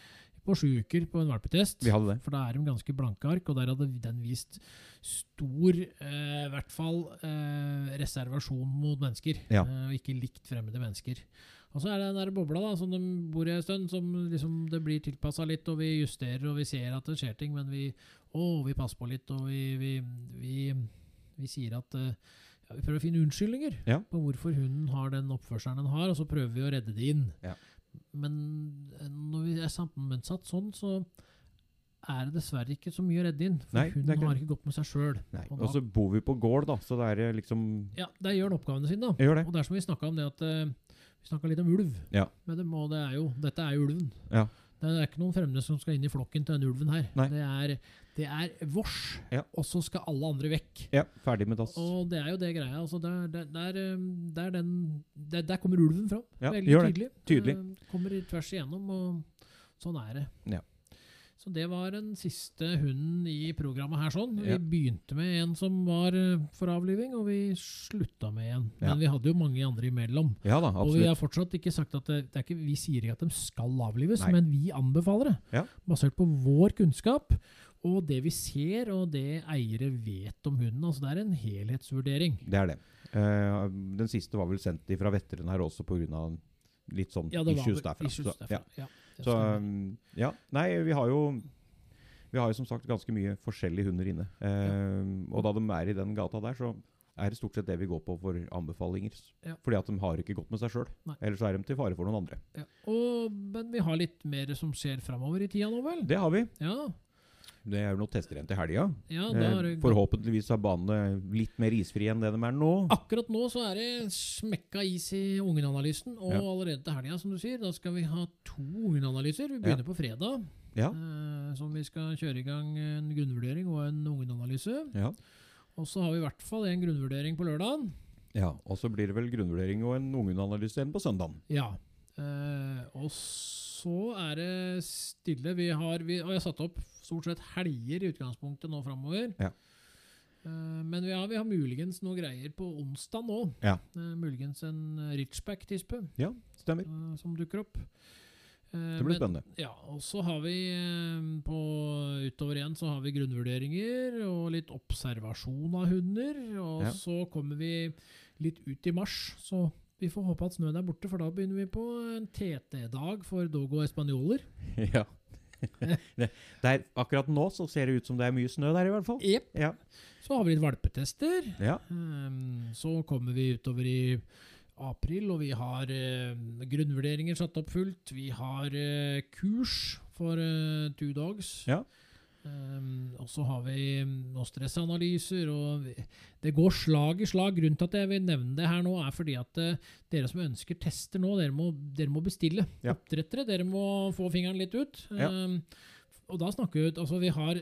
S2: på sju uker på en valpetest.
S1: Vi hadde det.
S2: For da er de ganske blanke ark, og der hadde den vist stor, eh, i hvert fall, eh, reservasjon mot mennesker.
S1: Ja.
S2: Eh, og ikke likt fremmede mennesker. Og så er det den der bobla da, som de bor i en stund, som liksom det blir tilpassa litt, og vi justerer, og vi ser at det skjer ting, men vi, å, vi passer på litt, og vi, vi, vi, vi sier at eh, ja, Vi prøver å finne unnskyldninger
S1: Ja.
S2: på hvorfor hunden har den oppførselen den har, og så prøver vi å redde det inn.
S1: Ja.
S2: Men eh, når vi er sammensatt sånn, så er det dessverre ikke så mye å redde inn. For
S1: Nei, det er
S2: hunden
S1: ikke
S2: har
S1: det.
S2: ikke gått med seg sjøl.
S1: Nei.
S2: Og da-
S1: Og så bor vi på gård, da, så det er eh, liksom
S2: Ja, der gjør den oppgavene sine, da.
S1: Jeg gjør det.
S2: Og det er som vi snakka om det at eh, Vi snakka litt om ulv.
S1: Ja.
S2: Med dem, og det er jo, dette er jo ulven.
S1: Ja.
S2: Det er ikke noen fremmede som skal inn i flokken til den ulven her.
S1: Nei.
S2: Det er, det er vårs,
S1: Ja.
S2: og så skal alle andre vekk.
S1: Ja, ferdig med dass.
S2: Og det er jo det greia. Altså der, der, der, eh, der, den, der, der kommer ulven fram.
S1: Ja,
S2: Veldig
S1: gjør det.
S2: tydelig.
S1: Tydelig.
S2: Eh, Kommer i tvers igjennom, og sånn er det.
S1: Ja.
S2: Så det var den siste hunden i programmet her. sånn. Vi
S1: Ja.
S2: begynte med en som var eh, for avliving, og vi slutta med en. Men
S1: Ja.
S2: vi hadde jo mange andre imellom.
S1: Ja da,
S2: Og vi
S1: absolutt.
S2: har fortsatt ikke sagt at det, det er ikke, Vi sier ikke at de skal avlives,
S1: Nei.
S2: men vi anbefaler det.
S1: Ja.
S2: Basert på vår kunnskap og det vi ser, og det eiere vet om hunden. Altså Det er en helhetsvurdering.
S1: Det er det. Eh, den siste var vel sendt fra veterinær også pga. litt sånn
S2: Ja, det var
S1: issues
S2: vel
S1: derfra.
S2: issues
S1: Så, ja.
S2: derfra. Ja, det
S1: Så,
S2: stemmer.
S1: um, ja. Nei, vi har jo Vi har jo som sagt ganske mye forskjellige hunder inne. Eh, Og da de er i den gata der, så er det stort sett det vi går på for anbefalinger.
S2: Ja.
S1: Fordi at de har ikke gått med seg sjøl.
S2: Nei.
S1: Ellers er de til fare for noen andre.
S2: ja. og, men vi har litt mer som skjer framover i tida nå, vel?
S1: Det har vi.
S2: Ja.
S1: Det er jo noen tester igjen til helga.
S2: Ja, da har
S1: Eh,
S2: det gått-
S1: forhåpentligvis er banene litt mer isfrie enn det de er nå.
S2: Akkurat nå så er det smekka is i Ungenanalysen, og
S1: Ja.
S2: allerede til helga, som du sier, da skal vi ha to Ungenanalyser. Vi begynner på fredag,
S1: Ja.
S2: eh, som vi skal kjøre i gang en grunnvurdering og en Ungenanalyse.
S1: ja.
S2: Og så har vi i hvert fall en grunnvurdering på lørdagen.
S1: ja. Og så blir det vel grunnvurdering og en ungenanalyse igjen på søndagen.
S2: Ja. Eh, og så er det stille. Vi har, vi, og jeg har satt opp stort sett helger i utgangspunktet nå framover.
S1: Ja.
S2: Eh, men vi har, vi har muligens noe greier på onsdag nå.
S1: Ja.
S2: Eh, muligens en eh, richback-tispe
S1: Ja, stemmer.
S2: eh, som dukker opp. Eh,
S1: Det blir (laughs)
S2: men-
S1: spennende.
S2: ja, og så har vi eh, på utover igjen så har vi grunnvurderinger og litt observasjon av hunder. Og
S1: Ja.
S2: så kommer vi litt ut i mars, så vi får håpe at snøen er borte, for da begynner vi på en TT-dag for Dogo espanjoler.
S1: Ja. (laughs) det, det er, akkurat nå så ser det ut som det er mye snø der, i hvert fall.
S2: Jep.
S1: Ja.
S2: Så har vi litt valpetester.
S1: ja.
S2: Ehm, Så kommer vi utover i april, og vi har eh, grunnvurderinger satt opp fullt. Vi har eh, kurs for eh, two dogs.
S1: Ja.
S2: Ehm, og så har vi mm, noen stressanalyser. og vi- Det går slag i slag. Grunnen til at jeg vil nevne det her nå, er fordi at eh, dere som ønsker tester nå, dere må, dere må bestille.
S1: Ja.
S2: Oppdrettere, dere må få fingeren litt ut.
S1: Ja.
S2: Ehm, og da snakker vi ut Altså, vi har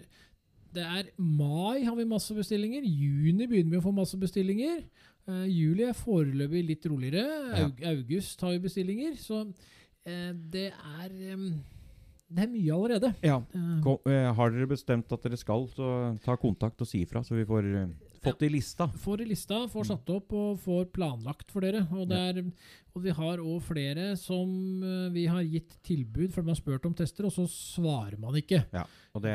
S2: det er mai har vi masse bestillinger. Juni begynner vi å få masse bestillinger. Eh, juli er foreløpig litt roligere.
S1: Ja.
S2: Aug august har vi bestillinger. Så eh, det er em, Det er mye allerede.
S1: ja.
S2: Eh,
S1: Kom, eh, har dere bestemt at dere skal, så ta kontakt og si ifra, så vi får eh, fått i lista.
S2: får i lista,
S1: Mm.
S2: får satt opp og får planlagt for dere. Og, det er, og vi har òg flere som eh, vi har gitt tilbud, for de har spurt om tester, og så svarer man ikke.
S1: Og det,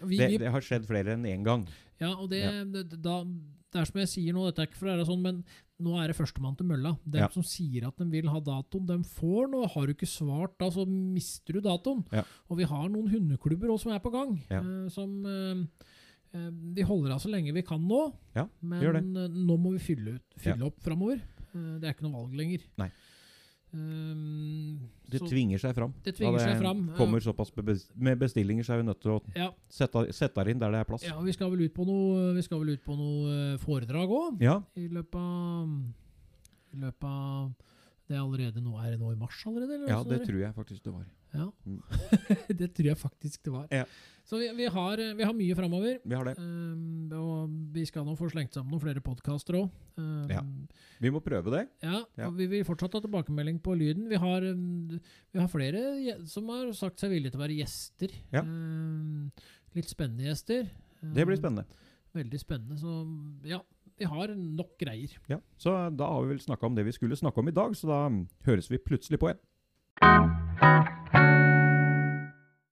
S2: Og Vi,
S1: det,
S2: vi
S1: det har skjedd flere enn én gang.
S2: Ja, og det,
S1: Ja.
S2: det, da, det er som jeg sier nå, dette er ikke for å være sånn, men nå er det førstemann til mølla. De
S1: Ja.
S2: som sier at de vil ha datoen, de får nå. Har du ikke svart da, så mister du datoen.
S1: Ja.
S2: Og vi har noen hundeklubber også som er på gang.
S1: Ja.
S2: eh, som eh, eh, Vi holder av så lenge vi kan nå,
S1: Ja,
S2: men
S1: gjør
S2: eh, nå må vi fylle, ut, fylle opp framover. Eh, det er ikke noe valg lenger.
S1: Nei.
S2: Ehm,
S1: Det
S2: så
S1: tvinger seg fram.
S2: det tvinger
S1: Ja,
S2: seg fram. eh,
S1: Kommer såpass be- bes- med bestillinger, så er vi nødt til å
S2: ja,
S1: sette, sette her inn der det er plass.
S2: ja, vi skal vel ut på noe, vi skal vel ut på noe eh, foredrag òg.
S1: Ja,
S2: I løpet av I løpet av Det er allerede nå Er det nå i mars allerede? Eller
S1: ja
S2: hvordan er (laughs)
S1: det tror jeg faktisk det var.
S2: ja. det tror jeg faktisk det var.
S1: Ja.
S2: Så vi, vi, har, vi har mye framover.
S1: Vi har det.
S2: Um, og vi skal nå få slengt sammen noen flere podkaster òg. Um,
S1: Ja. Vi må prøve det.
S2: ja,
S1: Ja.
S2: og Vi vil fortsatt ha tilbakemelding på lyden. Vi har, um, vi har flere gje- som har sagt seg villige til å være gjester.
S1: Ja.
S2: Um, litt spennende gjester.
S1: Det blir
S2: Um,
S1: spennende.
S2: Veldig spennende. Så ja, vi har nok greier.
S1: Ja. Så da har vi vel snakka om det vi skulle snakke om i dag, så da mm, høres vi plutselig på igjen.